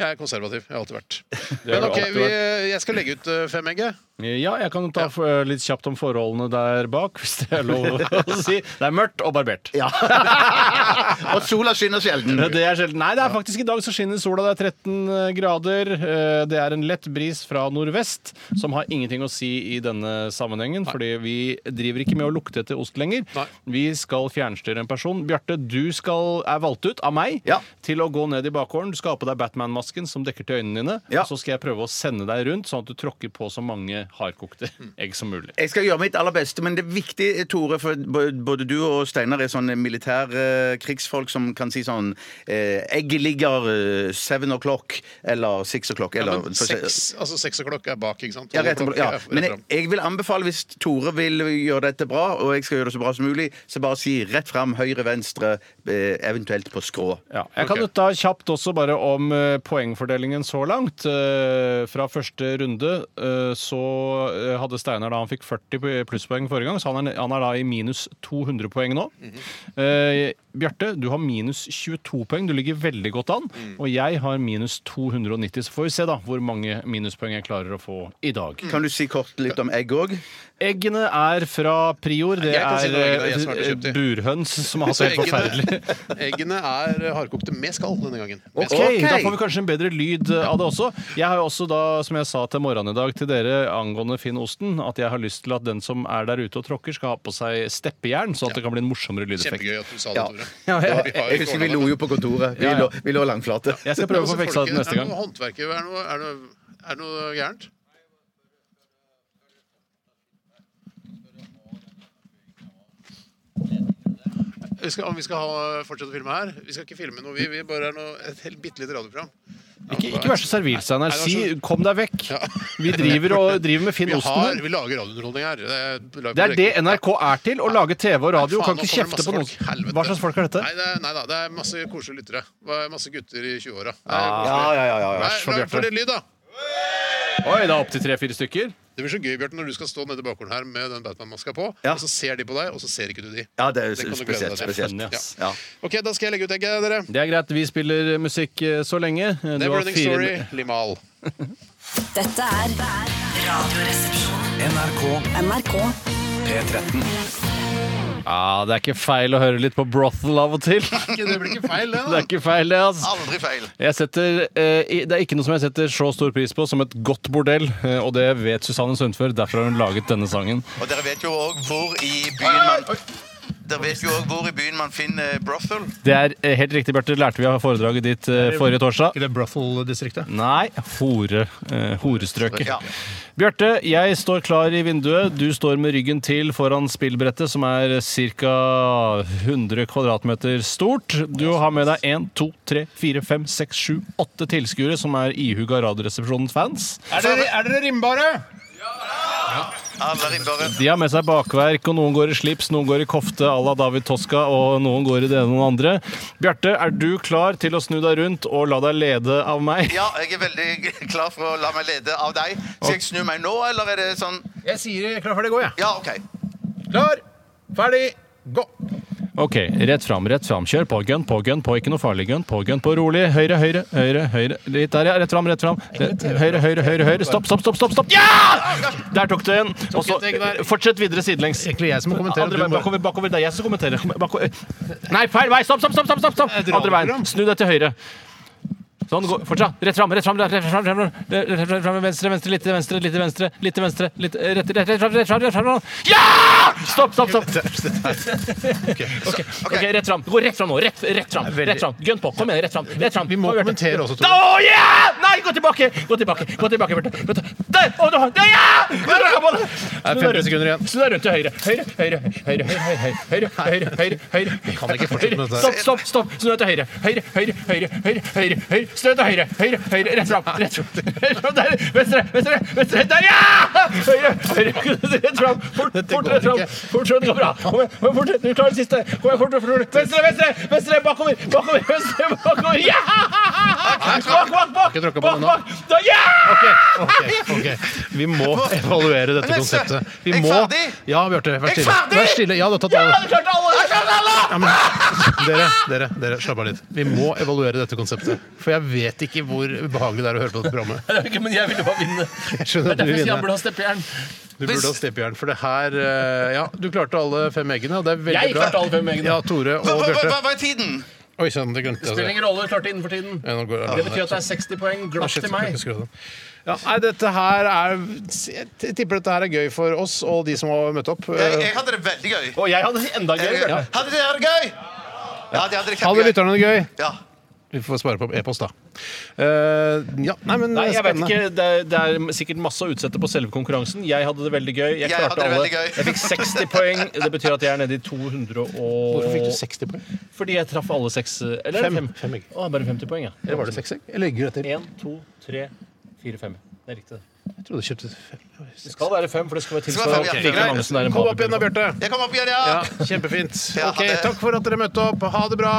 Jeg er konservativ. Jeg har alltid vært. Men du ok, alltid vi, jeg skal legge ut eh, fem egg, jeg. Ja, jeg kan ta eh, litt kjapt om forholdene der bak, hvis det er lov å si. Det er mørkt og barbert. Og sola skinner sjelden. Det er sjelden. Nei, det er faktisk i dag så skinner sola. Det er 13 grader. Eh, Det er en lett bris fra nordvest, som har ingenting å si i denne sammenhengen. Fordi vi driver ikke med å lukte etter ost lenger. Nei. Vi skal fjernstyre en person. Bjarte, du skal, er valgt ut av meg Ja. til å gå ned i bakgården. Du skal ha på deg Batman-masken som dekker til øynene dine. Ja. Og så skal jeg prøve å sende deg rundt, sånn at du tråkker på så mange hardkokte egg som mulig. Jeg skal gjøre mitt aller beste, men det er viktig, Tore, for bo- både du og Steinar er sånne militærkrigsfolk eh, krigsfolk som kan si sånn eh, Egget ligger eh, seven o'clock eller six o'clock Ja, eller men seks altså seks o'clock er bak, ikke sant? Ja, rett og, Tolv ja. o'clock er rett Men jeg, frem. jeg vil anbefale, hvis Tore vil gjøre dette bra, og jeg skal gjøre det så bra som mulig, så bare si rett fram, høyre, venstre, eh, eventuelt på skrå. Ja, jeg kan Ok. ta kjapt også bare om eh, poengfordelingen så langt. Eh, Fra første runde eh, så eh, hadde Steinar da han fikk 40 p- plusspoeng forrige gang, så han er, han er da i minus 200 poeng nå. Mhm. Eh, Bjarte, du har minus 22 poeng, du ligger veldig godt an. Mhm. Og jeg har minus 290, så får vi se da hvor mange minuspoeng jeg klarer å få i dag. Mhm. Kan du si kort litt om egg òg? Eggene er fra Prior. Det Jeg kan si er noe om eggene, jeg som har eh, kjøpt de. burhøns som har hatt det Altså, helt forferdelig. eggene er hardkokte med skall denne gangen. Med Ok, skall. Da får vi kanskje en bedre lyd eh, av det også. Jeg har jo også da, som jeg sa til morgenen i dag til dere angående Finn Osten, at jeg har lyst til at den som er der ute og tråkker, skal ha på seg steppejern, sånn at det kan bli en morsommere lydeffekt. Kjempegøy at du sa det, Ja. Tore. Ja, jeg- Da har vi- Jeg husker vi lo jo på kontoret. Vi Ja, ja. lå, vi lå langflate. Jeg skal prøve å få Altså, fiksa folket- det neste Er gang. det noe håndverker? Er det noe, er det noe, er det noe gærent? Vi skal, om vi skal ha, fortsette å filme her? Vi skal ikke filme noe, vi. Vi bare er noe, et helt bitte lite radioprogram. Ikke, ikke vær så servil, Steinar. Nei, det var Si så- 'kom deg vekk'. Vi driver, og, driver med Finn Vi, har, Osten. her. vi lager radiounderholdning her. Det Det er det NRK er til, å lage TV og radio. Faen, Kan nå kommer ikke det kjefte på masse folk. noen. Helvete. Hva slags folk er Nei, dette? det er, nei da, det er masse koselige lyttere. Det er Masse gutter i 20-åra. Ja, ja, ja, ja, ja. Nei, lag for litt lyd, da! Oi, det er opptil tre-fire stykker. Det blir så gøy, Bjørten, når du skal stå nede i bakgården her med den Batman-maska på, Ja. og så ser de på deg, og så ser ikke du de. Ja, det er Det kan du glede spesielt. deg til. spesielt. Skjønner, Ja. ass. Ja. Ok, da skal jeg legge ut egget, dere. Det er greit, vi spiller musikk eh, så lenge. Du har Neverending Story, fire- Limal. Dette er Radioresepsjonen. NRK NRK. P13. Ja, Ah, det er ikke feil å høre litt på brothel av og til. Det blir ikke feil, Det er ikke feil, det, altså. Aldri feil. Jeg setter, eh, i- det er ikke noe som jeg setter så stor pris på som et godt bordell, eh, og det vet Susanne Sundfør. Derfor har hun laget denne sangen. Og dere vet jo òg hvor i byen man Dere vet jo også hvor i byen man finner brothel. Det er eh, helt riktig, Bjarte. Lærte vi av foredraget ditt eh, forrige torsdag. I det Bruffle-distriktet. Nei, hore, eh, horestrøket. Ja. Bjarte, jeg står klar i vinduet. Du står med ryggen til foran spillbrettet, som er ca. 100 kvadratmeter stort. Du har med deg 1, 2, 3, 4, 5, 6, 7, 8 tilskuere som er ihuga Radioresepsjonens fans. Er dere, er dere rimbare? Ja! Alle ribbere. De har med seg bakverk, og noen går i slips, noen går i kofte à la David Toska, og noen går i det ene og det andre. Bjarte, er du klar til å snu deg rundt og la deg lede av meg? Ja, jeg er veldig klar for å la meg lede av deg. Skal jeg snu meg nå, eller er det sånn Jeg sier klar, ferdig, gå, jeg. Ja, OK. Klar, ferdig, gå. Ok, rett fram, rett fram. Kjør på, gun på, gun på. Ikke noe farlig, gun på, gun på. Rolig. Høyre, høyre, høyre, høyre. Litt der, ja. Rett fram, rett fram. Høyre, høyre, høyre. høyre. Stopp, stopp, stopp. stopp, stopp. Ja! Der tok du en. Og så et egg der. fortsett videre sidelengs. Egentlig jeg som må kommentere. Andre du veien, må- bakover, bakover. Det er jeg som kommenterer. Bakover. Nei, feil vei! Stopp, stopp, stopp! stopp, stopp, Et stopp. Andre radioprogram. veien. Snu deg til høyre. Sånn, gå. Fortsatt. Rett fram, rett fram, rett fram, rett fram, rett fram, venstre, venstre, litt til venstre, litt til venstre, litt til venstre, litt rett, rett, rett, fram, rett, fram, rett fram. Ja! Stopp, stopp, stopp. Ok, rett fram. Gå rett fram nå. Rett, rett fram. Rett fram. Gønn på. Kom igjen, rett fram. Rett fram. Vi må Kom igjen, Bjarte. kommentere også, Tore. Å, ja! Nei, gå tilbake! Gå tilbake, gå tilbake, Bjarte. Bjarte. Der! Å, nå- Der, ja! Der, kom an! Det er 50 sekunder igjen. Snu deg rundt til høyre. Høyre, høyre, høyre, høyre, høyre, høyre, høyre, høyre, høyre. Vi kan ikke fortsette med dette. Stopp, stopp, stopp. Snu deg til høyre. Høyre, høyre, høyre, høyre, høyre. høyre. Snu deg til høyre. Høyre, høyre, rett fram. Rett fram. Rett fram. Der. Venstre, venstre, venstre. Der, ja! Høyre, høyre, rett fram. Fort, fort, rett fram. Fort, sånn, det går bra. Kom igjen, kom igjen, fort, du klarer det siste. Kom igjen, fort, fort, fort. Venstre, venstre, venstre, bakover, bakover, venstre, bakover. Ja! Bak, bak, bak. Ikke tråkke på Bak, den nå. bak. Da, ja! Ok, ok. Vi må evaluere dette Men, konseptet. Vi jeg er må... ferdig! Ja, Bjarte, vær Jeg er stille. ferdig! Vær stille. Ja, du har tatt Ja, alle. du klarte alle! Du klarte alle! Ja, men, dere, dere, dere, slapp av litt. Vi må evaluere dette konseptet. For jeg vet ikke hvor behagelig det er å høre på dette programmet. Det er ikke, men jeg ville bare vinne. Jeg skjønner at du vinner. ha steppejern. Du burde ha steppejern, for det her eh, Ja, du klarte alle fem eggene, og det er veldig Jeg bra. klarte alle fem eggene. Ja, Tore Hva, og hva, hva, Bjarte. hva er tiden? Oi sann, det glemte jeg. ingen rolle, klarte innenfor tiden. Ja, nå går det- at det er 60 poeng Ah, glatt shit, jeg skru av den. Ja, nei, dette her er Jeg tipper dette her er gøy for oss og de som har møtt opp. Eh, Jeg, jeg hadde det veldig gøy. Og jeg hadde enda Jeg- gøyere. Hadde dere det gøy? Ja, de hadde det Ha det, kjempegøy. lytterne. det er Gøy. Ja. Vi får svare på e-post, da. Eh, ja, nei, men Nei, jeg vet spennende. ikke. Det er, det er sikkert masse å utsette på selve konkurransen. Jeg hadde det veldig gøy. Jeg Jeg hadde klarte det alle. veldig gøy. Jeg fikk 60 poeng. Det betyr at jeg er nede i 200 og Hvorfor fikk du 60 poeng? Fordi jeg traff alle seks eh, Eller Fem. fem. Fem, ikke. Å, bare 50 poeng, ja. Eller var det 6 egg? Jeg legger etter. Én, to, tre, fire, fem. Det er riktig. det. Jeg trodde jeg kjøpte fem. Det skal være fem, for det skal være skal være fem, ja. tilsvarende. Greit. Kom opp igjen da, Bjarte. Jeg kom opp igjen, Ja, ja. kjempefint. Ja, ha Ok, det. Takk for at dere møtte opp. Ha det bra.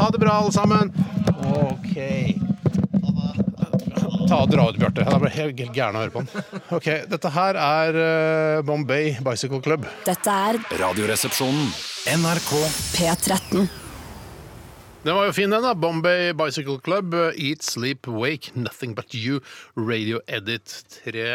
Ha det bra, alle sammen. OK. Ta og Dra ut, Bjarte. Jeg ble helt helt gæren av å høre på han. Ok, Dette her er eh, Bombay Bicycle Club. Dette er Radioresepsjonen. NRK P13. Den var jo fin, den. da Bombay Bicycle Club. eh, Eat, Sleep, Wake, Nothing But You. Radio Edit. 3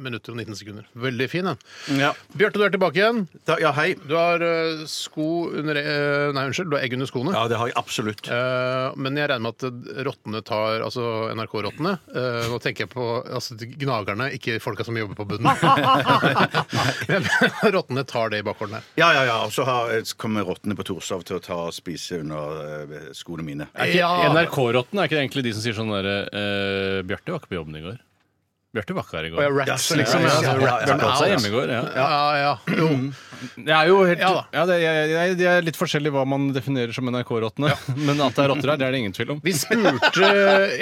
minutter og 19 sekunder. Veldig fin, den. Ja. Bjarte, du er tilbake igjen. Da, ja, hei. Du har eh, sko under eh, Nei, unnskyld. Du har egg under skoene. Ja, det har jeg absolutt. Eh, men jeg regner med at rottene tar Altså NRK-rottene. Eh, nå tenker jeg på altså, de gnagerne, ikke folka som jobber på bunnen. Men rottene tar det i bakgården her. Ja, ja, ja. Og så har- kommer rottene på Torshov til å ta og spise under eh, skoene mine. NRK-rotten er ikke det egentlig de som sier sånn derre eh, Bjarte var ikke på jobben i går. Bjarte var ikke her i Og går. jeg rats, Ja, liksom. ja, Ja, ja, altså, ja, rap- ja, Bjarte holdt seg hjemme i går, ja. Ja, ja. Jo. Det er jo helt, ja, Ja da. det, jeg, jeg, det er litt forskjellig hva man definerer som NRK-rottene. Men at det er rotter her, det er det ingen tvil om. Vi spurte,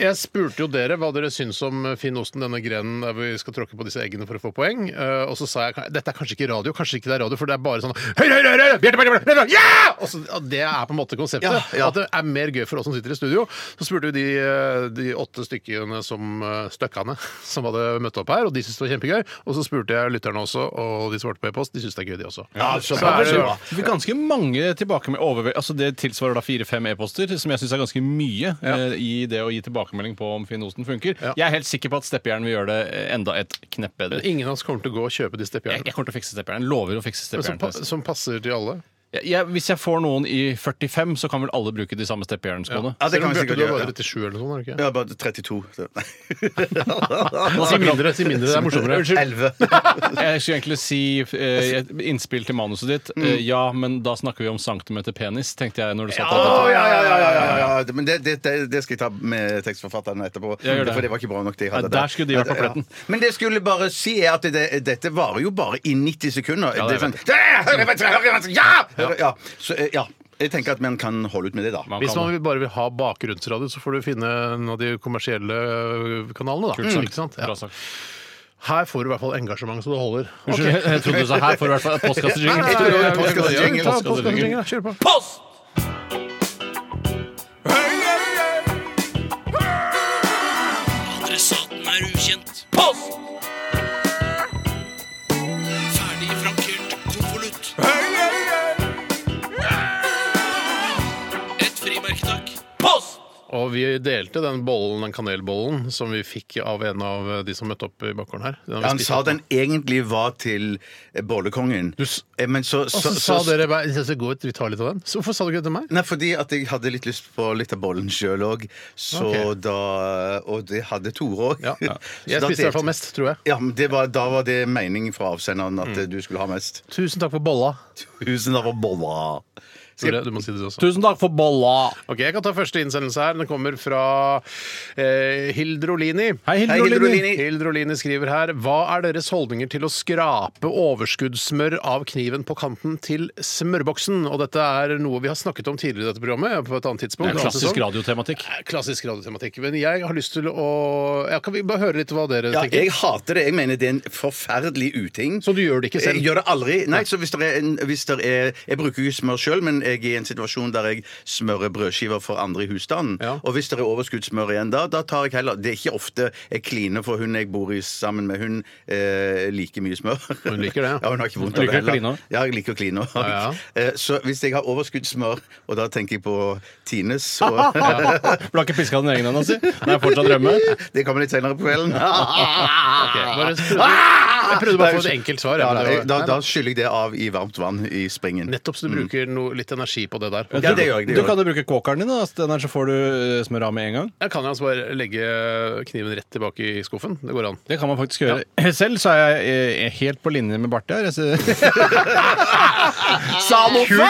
jeg spurte jo dere hva dere syns om Finn Osten, denne grenen der vi skal tråkke på disse eggene for å få poeng. Eh, og så sa jeg dette er kanskje ikke radio, kanskje ikke det er radio, for det er bare sånn høyre, høyre, høyre, Bjarte, Bjarte, Bjarte, Bjarte, ja! Og så, ja, Det er på en måte konseptet. Ja, ja. At det er mer gøy for oss som sitter i studio. Så spurte vi de, eh, de åtte stykkene som eh, støkkene som hadde møtt opp her, og de syntes det var kjempegøy. Og så spurte jeg lytterne også, og de svarte på e-post. De syns det er gøy, de også. Ja, så Så er det bra. bra. Vi fikk ganske mange tilbake med overve... Altså Det tilsvarer da fire-fem e-poster, som jeg syns er ganske mye eh, i det å gi tilbakemelding på om Finn Osten funker. Ja. Jeg er helt sikker på at steppejern vil gjøre det eh, enda et knepp bedre. Jeg, Ingen av oss kommer til å gå og kjøpe de steppejernene. jeg kommer til å fikse steppejern. Lover å fikse Som, steppejern. Altså, pa- til neste- som passer til alle. Jeg- jeg- Hvis jeg får noen i 45, så kan vel alle bruke de samme steppejernskoene. Ja, det Selv kan om vi Bjarte, sikkert du er gjøre. bare 37 eller noe sånt, er du ikke? Ja, bare 32. så- Nei. Si mindre, si mindre, det er morsommere. 11. Unnskyld. Jeg skulle egentlig si eh, et innspill til manuset ditt. Eh, Mm. ja, men da snakker vi om centimeter penis, tenkte jeg når du sa Å, det. ja, ja, ja, ja, ja, ja. Men det, det, det, det skal jeg ta med tekstforfatteren etterpå. Ja, gjør det. For det var ikke bra nok. det jeg Nei, hadde der skulle de vært på pletten. Ja. Men det jeg skulle bare si, er at det, dette varer jo bare i 90 sekunder. Ja, det det er sånn «Ja, høyre, venstre, høyre, venstre, ja! ja! Så, eh, ja. Jeg tenker at man kan holde ut med det, da. Man Hvis kan man vil- bare vil ha bakgrunnsradio, så får du finne en av de kommersielle øh, kanalene, da. eh, Mm. Ikke sant? Ja. Bra sagt. Her får du i hvert fall engasjement så det holder. Unnskyld, Ok. jeg trodde du sa her får du i hvert fall Nei, nei, postkassejingle. nei, tror det er nei, postkassejingle, ta postkassejingle. postkassejingle, Kjør på. Og vi delte den bollen, den kanelbollen som vi fikk av en av eh, de som møtte opp i bakgården her. Den har vi Han spist sa opp. den egentlig var til eh, bollekongen. s- Eh, Men så, Og så sa dere bare «Jeg synes det går ut, vi tar litt av den. Så hvorfor sa du ikke det til meg? Nei, fordi at jeg hadde litt lyst på litt av bollen sjøl òg. Ok. Og det hadde Tore òg. Ja, Jeg spiste i hvert fall mest, tror jeg. Ja, men det var, Da var det meningen fra avsenderen at eh, du skulle ha mest. Tusen takk for bolla. Tusen takk for bolla. Skal Tore, jeg- du må si det også. Tusen takk for bolla! Ok, Jeg kan ta første innsendelse her. Den kommer fra eh, Hildrolini. Hei, Hilde Hei, Hilde Olini. Olini. Hildrolini skriver her Hva er deres holdninger til å skrape overskuddssmør av kniven på kanten til smørboksen? Og dette er noe vi har snakket om tidligere i dette programmet. på et annet tidspunkt. Det er en annen klassisk sesong. radiotematikk. Klassisk radiotematikk. Men jeg har lyst til å ja, Kan vi bare høre litt hva dere Ja, tenker? jeg hater det. Jeg mener det er en forferdelig uting. Så du gjør det ikke selv? Jeg gjør det aldri. Nei, så hvis det er, en, hvis det er Jeg bruker jo smør sjøl, men jeg er i en situasjon der jeg smører brødskiver for andre i husstanden. Ja. Og hvis det er overskuddssmør igjen da, da tar jeg heller Det er ikke ofte jeg kliner for hun jeg bor i sammen med. Hun eh, liker mye smør. Hun liker det, ja. ja. Hun har ikke vondt Liker av det å kline heller. også? Ja, jeg liker å kline også. Ja, Eh, Så hvis jeg har overskuddssmør, og da tenker jeg på Tines og Du har ikke piska den egen ennå, si? Det er fortsatt rømme. Det kommer litt senere på kvelden. Ok, Ah! bare prøvde, jeg prøvde bare å få et enkelt svar. Ja, jeg, men det da, var- da, da skyller jeg det av i varmt vann i springen. Nettopp så du Mm. bruker noe, litt energi på det der. Ja, det gjør jeg, det Du gjør jeg. kan jo bruke kåkeren din, da. Den her så får du eh, smør av med en gang. Jeg kan jo altså bare legge kniven rett tilbake i skuffen. Det går an. Det kan man faktisk gjøre. Selv så er jeg eh, helt på linje med Barte her. Jeg ser- Ah, Sa noe Kult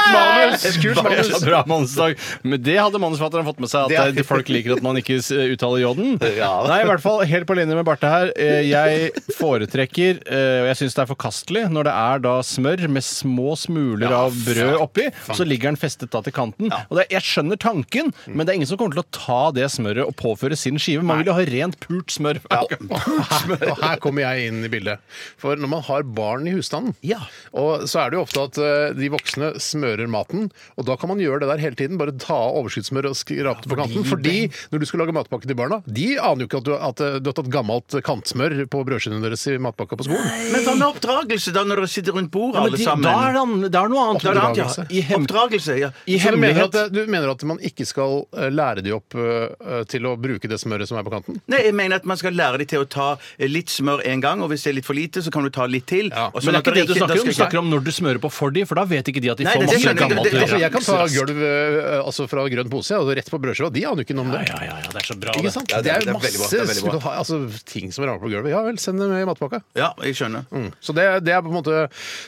manus! Bra manusdag. Men det hadde manusforfatteren fått med seg, Det er- at eh, folk liker at man ikke s- eh, uttaler j-en. Ja. Nei, i hvert fall helt på linje med Barte her. Eh, Jeg foretrekker, eh, og jeg syns det er forkastelig, når det er da smør med små smuler av brød oppi, så ligger den festet da til kanten. Og det, jeg skjønner tanken, men det er ingen som kommer til å ta det smøret og påføre sin skive. Man vil jo ha rent pult smør. Og her kommer jeg inn i bildet. For når man har barn i husstanden, Ja. og så er det jo ofte at eh, de voksne smører maten, og da kan man gjøre det der hele tiden. Bare ta av overskuddssmør og skrape det på kanten. Fordi når du skal lage matpakke til barna, de aner jo ikke at du, at eh, du har tatt gammelt kantsmør på brødskivene deres i matpakka på skolen. Men hva med oppdragelse, da, når dere sitter rundt bordet, Ja, men alle de, sammen? da er det, an- det er noe annet. Da er det annet, ja. I, hem, Oppdragelse, ja. I Så du mener, hemmelighet. at, eh, du mener at man ikke skal eh, lære de opp eh, til å bruke det smøret som er på kanten? Nei, jeg mener at man skal lære dem til å ta eh, litt smør en gang, og hvis det er litt for lite, så kan du ta litt til. Ja, og sånn Men det at er ikke det du da snakker om. skal Du snakker om når du smører på for de, for da vet ikke de at de Nei, får det- det masse skjønner jeg. gammelt Det- det- Altså, rød. jeg kan ta gulv eh, altså fra grønn pose og rett på brødskiva. De aner jo ikke noe om det. Ja, ja, ja, det er så bra, Ikke det. sant? Ja, det det, er- er det jo er veldig bra, masse det er veldig bra. du kan ha- altså, ting som ramler på gulvet. Ja vel, send dem i matpakka. Mm. Ja, jeg skjønner. Mm. Så det, det er på en måte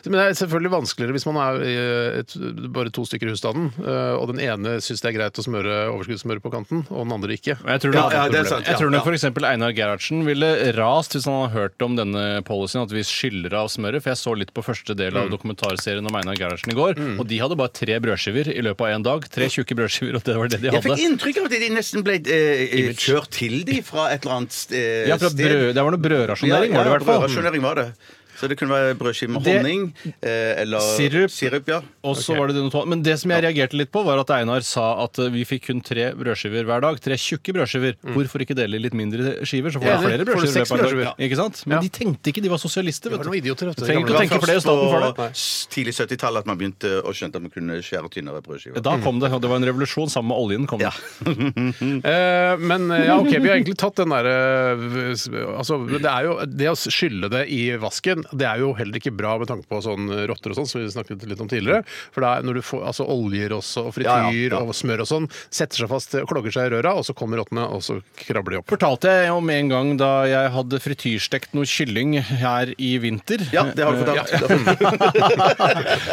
Men det er selvfølgelig vanskeligere hvis man er eh, et, bare to stykker i husstanden, eh, og den ene syns det er greit å smøre overskuddssmør på kanten, og den andre ikke. Jeg tror Ja, nok, ja, det er sant, jeg ja, tror nok ja. for eksempel Einar Gerhardsen ville rast hvis han hadde hørt om denne policyen at vi skyller av smøret. For jeg så litt på første del av dokumentarserien om Einar Gerhardsen i går, og de hadde bare tre brødskiver i løpet av én dag. Tre tjukke brødskiver, og det var det de Jeg hadde. fikk inntrykk av at de nesten ble eh, eh, kjørt til de fra et eller annet st- eh, sted. Ja, fra brød, det var noe brødrasjonering, var det i hvert fall. brødrasjonering var det. Så det kunne være brødskive med Det- honning eh, eller Sirup. sirup ja. Og så var det denne to- Men det som jeg reagerte litt på, var at Einar sa at eh, vi fikk kun tre brødskiver hver dag. Tre tjukke brødskiver. Hvorfor ikke dele i litt mindre skiver, så får du Mm. Enig. Får flere du brødskiver? i seks løpet av en dag. brødskiver. Ikke sant? Men de tenkte ikke, de var sosialister. Det Vet var du. noen idioter, vet du. Du trenger ikke gamle å tenke flere i staten for det. på s- tidlig 70-tallet at man begynte å skjønne at man kunne skjære tynnere brødskiver. Da kom det, Mm. og det var en revolusjon sammen med oljen. kom det. Ja. Eh, men eh, ja, ok, vi har egentlig tatt den derre altså, men det, er jo, det å skylle det i vasken, det er jo heller ikke bra med tanke på sånn rotter og sånn, som vi snakket litt om tidligere. For det er når du får altså, oljer også, og frityr Ja, ja, ja. og smør og sånn, setter seg fast, klogger seg i røra, og så kommer rottene, og så krabber de opp. Fortalte jeg om en gang da jeg hadde frityrstekt noe kylling her i vinter. ja, det har du fortalt.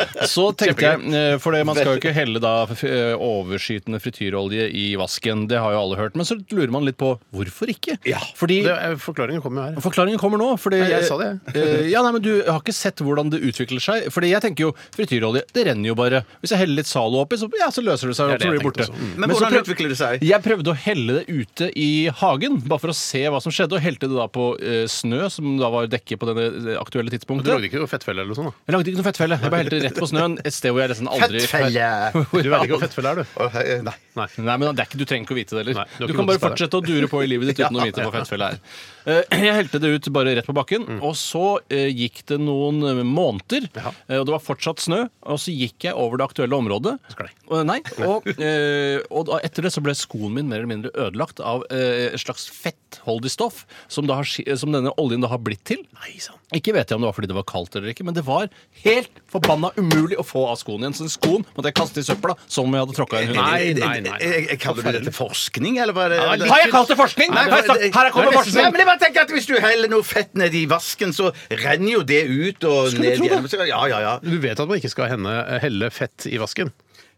Så tenkte jeg, eh, for det, man skal jo ikke helle da f- eh, overskytende frityrolje i vasken, det har jo alle hørt, men så lurer man litt på hvorfor ikke? Fordi Det, eh, forklaringen kommer jo her. Forklaringen kommer nå. fordi Nei, jeg sa det, Eh, ja, Ja, nei, men Du har ikke sett hvordan det utvikler seg. Fordi jeg tenker jo, Frityrolje det renner jo bare. Hvis jeg heller litt Zalo oppi, så, ja, så løser det Det er det seg. og så blir det jeg borte. tenkte også. Mm. Men så hvordan prøv- utvikler det seg? Jeg prøvde å helle det ute i hagen, bare for å se hva som skjedde. Og helte det da på eh, snø, som da var dekket på denne det aktuelle Du tidspunktet. lagde ikke noe fettfelle eller noe sånt? da? Jeg lagde ikke noe fettfelle. Jeg bare helte det rett på snøen. Et sted hvor jeg nesten aldri Du vet ikke hva fettfelle er, du? Nei. Nei. Nei, men det er ikke, Du trenger ikke å vite det heller. Nei, du har du ikke kan bare noe til fortsette å dure på i livet ditt uten å vite hva fettfelle er. Eh, Jeg helte det ut bare rett på bakken, Mm. og så eh, gikk det noen eh, måneder. eh, Og det var fortsatt snø, og så gikk jeg over det aktuelle området. Sklei. Og, nei, og, eh, og da, etter det så ble skoen min mer eller mindre ødelagt av eh, et slags fettholdig stoff som, da har, ski- eh, som denne oljen da har blitt til. Nei sann. Ikke vet jeg om det var fordi det var kaldt eller ikke, men det var helt forbanna umulig å få av skoen igjen. Så den skoen måtte jeg kaste i søpla som om jeg hadde tråkka en hund. Nei, nei, nei. Jeg, jeg, kaller du dette forskning, eller hva er det? litt- Har jeg kalt det forskning? Nei, Har jeg sagt- her er kommer Nei, sånn- men- forskning! men jeg bare tenker at Hvis du heller noe fett ned i vasken, så renner jo det ut og du ned tro igjen. Ja, ja, ja. Du vet at man ikke skal henne, helle fett i vasken?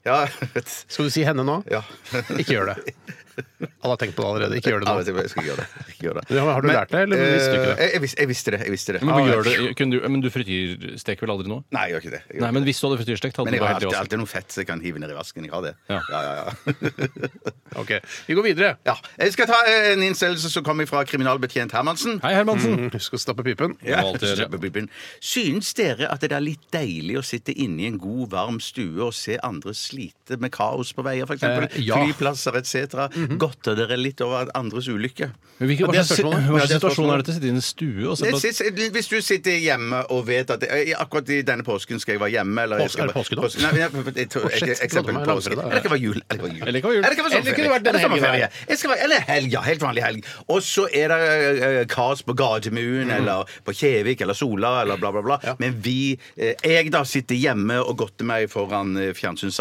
ja. Skal du si henne nå? ja. Ikke gjør det. Alle har tenkt på det allerede. Ikke gjør det Ja, vet nå. du hva, jeg skal ikke gjøre det. Jeg skal ikke gjøre det. Ja, men har du Men, lært det, eller visste du ikke det? eh, Jeg, jeg, vis- jeg visste det. jeg visste det Men, hvorfor gjør du, kunne du, men du frityrsteker vel aldri noe? Nei, jeg gjør ikke det. Jeg gjør Nei, ikke men det. hvis du hadde frityrstekt, hadde men du jeg har vært heldig alltid, også. alltid noe fett som jeg kan hive ned i vasken. Jeg har det. Ja. ja, ja. ja. Ok, Vi går videre. Ja, Jeg skal ta eh, en innstillelse som kommer fra kriminalbetjent Hermansen. Hei, Hermansen. Mm, Husk å stappe pipen. Ja, må Mm, alltid gjøre det. strømpepipen. Synes dere at det er litt deilig å sitte inne i en god, varm stue og se andre slite med kaos på veier, f.eks.? Eh, ja. Flyplasser etc. Godter dere litt over andres ulykke? Hvilken Ja, det er Mhm. spørsmålet. hva slags hva Ja, slags det er situasjon spørsmålet. er det til å sitte i en stue og se Nei, på sist- Hvis du sitter hjemme og vet at eh, Akkurat i denne påsken skal jeg være hjemme eller jeg Påske- skal er det bare- påske nå? Påske- Nei, jeg- jeg tror- Å, shit, et- Eksempel forlåt meg, påske. langfredag. Eller det kan være jul. Eller det kan være jul. Eller det kan være jul. Eller det kan være Eller kunne det vært denne sommerferie. Eller helgen sommerferie. Jeg skal være- Eller helg, ja. Helt vanlig helg. Og så er det eh, kaos på Gardermoen eller på Kjevik eller Sola eller bla, bla, bla. Men vi eh, Jeg da sitter hjemme og godter meg foran eh,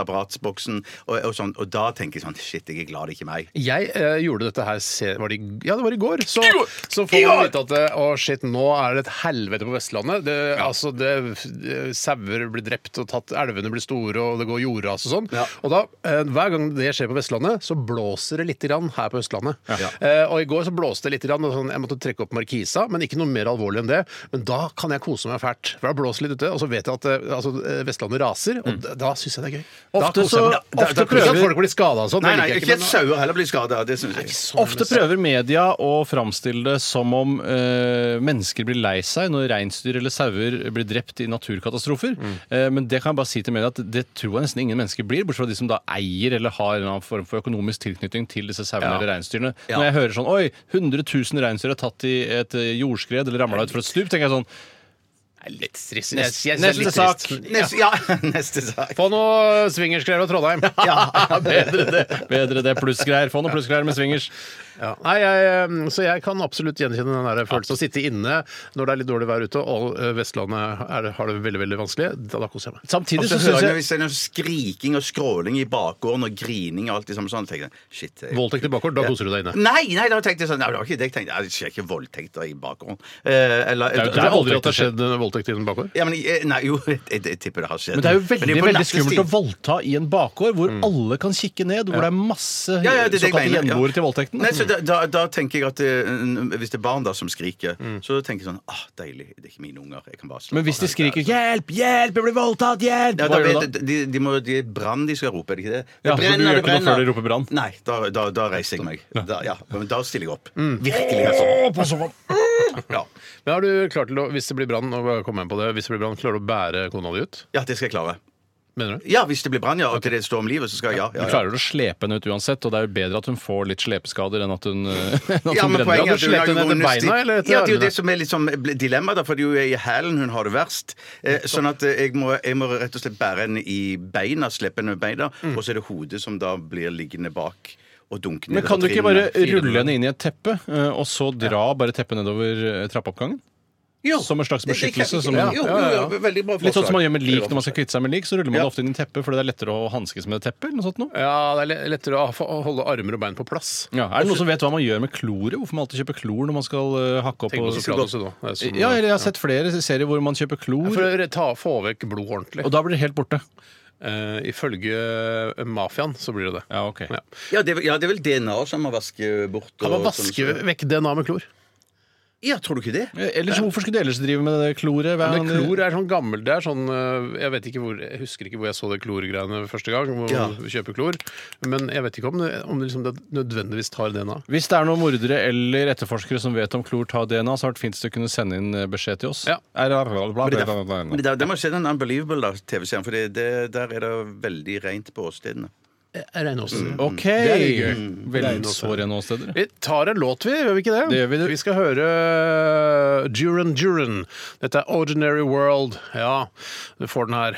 fjernsynsapparatboksen og, og sånn, og da tenker jeg sånn Shit, jeg er glad det ikke er meg. Jeg eh, gjorde dette her se, var det, i- Ja, det var i går. Så, så får man vite at eh, Å, shit, nå er det et helvete på Vestlandet. Det, altså, det, det- Sauer blir drept og tatt, elvene blir store, og det går jordras og sånn. Ja. Og da, eh, Hver gang det skjer på Vestlandet, så blåser det litt grann her på Østlandet. Eh, og i går så blåste det litt. Grann, og sånn, jeg måtte trekke opp markisa, men ikke noe mer alvorlig enn det. Men da kan jeg kose meg fælt. For da blåser det litt ute, og så vet jeg at eh, altså, eh, Vestlandet raser, og da, da syns jeg det er gøy. da Ofte koser så- jeg meg. da- da ofte prøver prøver- at folk blir skada og sånn. Nei, det nei, liker jeg ikke men- at sauer heller blir skada. Det syns jeg. Ofte prøver media å framstille det som om eh, mennesker blir lei seg når reinsdyr eller sauer blir drept i naturkatastrofer. Eh, men det kan jeg bare si til media at det tror jeg nesten ingen mennesker blir, bortsett fra de som da eier eller har en eller annen form for økonomisk tilknytning til disse sauene eller reinsdyrene. Når jeg hører sånn Oi, 100 000 reinsdyr er tatt i et eh, jordskred eller ramla ut fra et stup, tenker jeg sånn Litt trist. Neste- Jeg- jeg synes det er neste litt sak. trist. Neste, ja, neste sak. Få noe swingersgreier fra Trondheim. Bedre det. Bedre det plussgreier. Få noen plussgreier med swingers. Ja. Nei, jeg, um, så jeg kan absolutt gjenkjenne den der følelsen. Å sitte inne når det er litt dårlig vær ute, og uh, Vestlandet er, har det veldig veldig vanskelig. Da, da koser jeg meg. Samtidig Så så hører syns jeg jeg hvis det er noe skriking og skråling i bakgården og grining og alt det samme sånn, tenker jeg shit jeg... Voldtekt i bakhånd, da koser du deg inne. Nei, nei, da tenkte jeg sånn Nei, det var ikke det jeg tenkte. Nei, Det skjer ikke voldtekter i bakgården. Eh, eller Det er jo Det der er aldri at voldtekt det har skjedd en voldtekt innen bakgård. ja, men, eh, Nei, jo, jeg, jeg, tipper det har skjedd. Men det er jo veldig, på veldig nattestid. skummelt å voldta i en bakgård hvor alle kan kikke ned, hvor det er ja, masse ja, det, er det jeg såkalte mener, ja. gjenboere til voldtekten. Nei, så da, da, da tenker jeg at eh, Hvis det er barn da som skriker, så tenker jeg sånn ah, Deilig, det er ikke mine unger. Jeg kan bare slå Mm. Men barna hvis de ut der. skriker 'hjelp, hjelp, jeg blir voldtatt, hjelp', ja, da hva gjør du vet, da? de, de må, de er brann de skal rope, er det ikke det? Ja, Det så du brenner, gjør det ikke noe brenner. før de roper brann? Nei, da, da, da reiser jeg meg. Da, ja, men da stiller jeg opp. Virkelig. Altså. Å, Mm. på sofaen. Ja. Men har du klart til å, hvis det blir brann, nå kommer jeg inn på det, hvis det blir brann, klarer du å bære kona di ut? ja, det skal jeg klare. Mener du? Ja, hvis det blir brann, ja. Og til det står om livet, så skal jeg ja. Du ja, ja. klarer å slepe henne ut uansett, og det er jo bedre at hun får litt slepeskader enn at hun, eh, enn at hun Ja, men brenner. poenget Ja, er at Ja, hun har du slet henne etter ironisk- beina, eller etter Ja, det er jo armene? det som er liksom dilemmaet, da, for det er jo i hælen hun har det verst. Eh, sånn at eh, jeg må, jeg må rett og slett bære henne i beina, slippe henne med beina, Mm. og så er det hodet som da blir liggende bak og dunke ned. Men kan du ikke bare rulle ned henne inn i et teppe, eh, og så dra bare teppet nedover eh, trappeoppgangen? Som en slags beskyttelse? Som en, Jo, jo, jo, veldig bra forslag. Litt sånn som man gjør med lik Veldig bra når man skal kvitte seg med lik, så ruller man Ja. det ofte inn i teppet fordi det er lettere å hanskes med teppet eller noe sånt noe. Ja, det er le- lettere å ha- å holde armer og bein på plass. Ja, er det noen som vet hva man gjør med kloret? Hvorfor man alltid kjøper klor når man skal eh, hakke opp Tenk på og- sjokolade også, da. Det er som- Ja, eller jeg har sett flere serier hvor man kjøper klor, For å ta, få vekk blod ordentlig. og da blir det helt borte. Eh, ifølge mafiaen så blir det det. Ja, ok. Ja, det, er vel- ja, det er vel DNA som man vasker bort. Kan man og sånn- vaske vekk DNA med klor? Ja, tror du ikke det? Ellers, Hvorfor skulle de ellers drive med det kloret? Hva Men er det han- klor er sånn gammel Det er sånn øh, Jeg vet ikke hvor Jeg husker ikke hvor jeg så det klorgreiene første gang. Hvor Ja. man kjøper klor. Men jeg vet ikke om det, om det, liksom, det nødvendigvis tar DNA. Hvis det er noen mordere eller etterforskere som vet om klor tar DNA, så har det fint å kunne sende inn eh, beskjed til oss. Ja. Er det- Men det der, men det der, der må jeg se den Unbelievable da, TV-serien, for det, det, der er det veldig rent på åstedene. Reinåsen. OK! Det er gøy. Veldig så rene åsteder. Vi tar en låt, vi. Gjør vi ikke det? Det gjør vi, du. vi skal høre eh, Duran Duran. Dette er Ordinary World. Ja, du får den her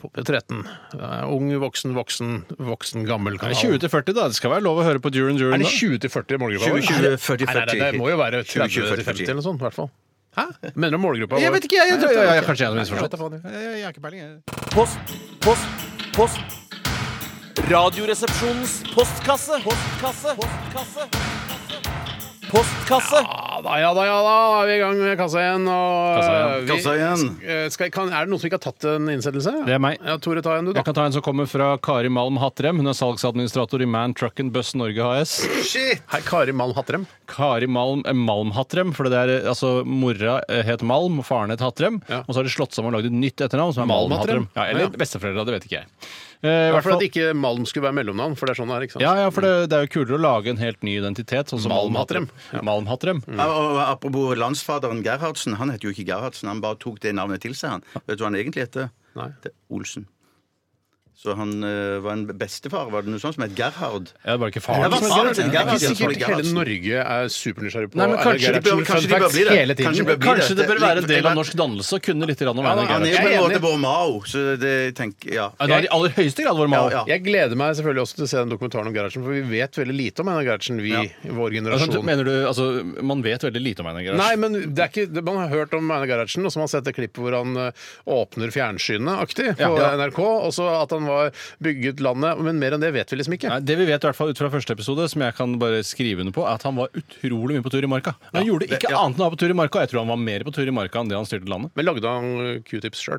på P13. Det er Ung, voksen, voksen, voksen, gammel. Det er 20 til 40, da. Det skal være lov å høre på Duran Er Duran. det da. 20 til 40 i målgruppa? 20, 20, 40, Nei, nei, nei, det må jo være 20, 30 til 50 eller noe sånt, i hvert fall. Hæ? Mener du målgruppa? Jeg vår? vet ikke, jeg. jeg, Nei, vet tror- ja, ja, ikke. kanskje jeg har Nei, jeg vet da misforstått. faen, jeg. Eh, Jeg jeg har ikke peiling, jeg. Post, post, post. Radioresepsjonens postkasse. Postkasse. Postkasse. Postkasse. Ja da, ja da, ja da. Da er vi i gang med kassa igjen. Og Kassa vi- Kassa igjen. Eh, Skal, kan, er det noen som ikke har tatt en innsettelse? Det er meg. Ja, Tore, ta en du, da. Jeg kan ta en som kommer fra Kari Malm Hattrem. Hun er salgsadministrator i Man Truck and Buss Norge AS. Shit! Hei, Kari Malm Hattrem. Kari Malm eh, Malm Hattrem, for det er eh, altså mora eh, het Malm, og faren het Hattrem. Ja. Og så har de slått sammen og lagd et nytt etternavn, som er Malm Malm Hattrem. Hattrem. Ja, eller Ja. besteforeldra, det vet ikke jeg. Eh, i I hvert hvert fall at fall- ikke Malm skulle være mellomnavn, for det er sånn det er. ikke sant? ja, ja, for det, det er jo kulere å lage en helt ny identitet, sånn som Malm Malm Hattrem. Mm. Malm Hattrem. Ja, og Apropos landsfaderen Gerhardsen. Han heter jo ikke Gerhardsen, han bare tok det navnet til seg. han. Vet du hva han egentlig heter? Nei. Det er Olsen. Så han eh, var en bestefar, var det noe sånt som het Gerhard? Ja, det er bare ikke Ja, faren hva som faen? er Det Gerhard. Gerhardsen, er Gerhardsen, ikke Tore sikkert hele Gerhardsen. Norge er supernysgjerrig på Nei, men Einar kanskje de bør- Gerhardsen, kanskje fun de bør facts bli det. hele tiden. Kanskje de bør bli Kanskje det det. bør være en del av Jeg- norsk dannelse å kunne litt grann om Ja, Einar da, Han er jo på Gerhardsen. en Jeg er måte enig. vår Mao, så det tenker Ja. Ja, Da er de i aller høyeste grad vår Ja, Malm. ja. Jeg gleder meg selvfølgelig også til å se den dokumentaren om Gerhardsen, for vi vet veldig lite om Einar Gerhardsen, vi, Ja. vår Altså, generasjon. Mener du, altså, man vet veldig lite om Einar Nei, Gerhardsen. men det er ikke, det- man har hørt om Einar Gerhardsen, og så har man sett det klippet hvor han eh, åpner fjernsynet aktig på Ja. NRK, og så at han var bygget landet, men mer enn det vet vi liksom ikke. Nei, det vi vet i hvert fall ut fra første episode, som jeg kan bare skrive under på, er at han var utrolig mye på tur i marka. Han gjorde ikke annet enn å være på tur i marka. Jeg tror han var mer på tur i marka enn det han styrte landet. Men lagde han eh, Q-tips sjøl?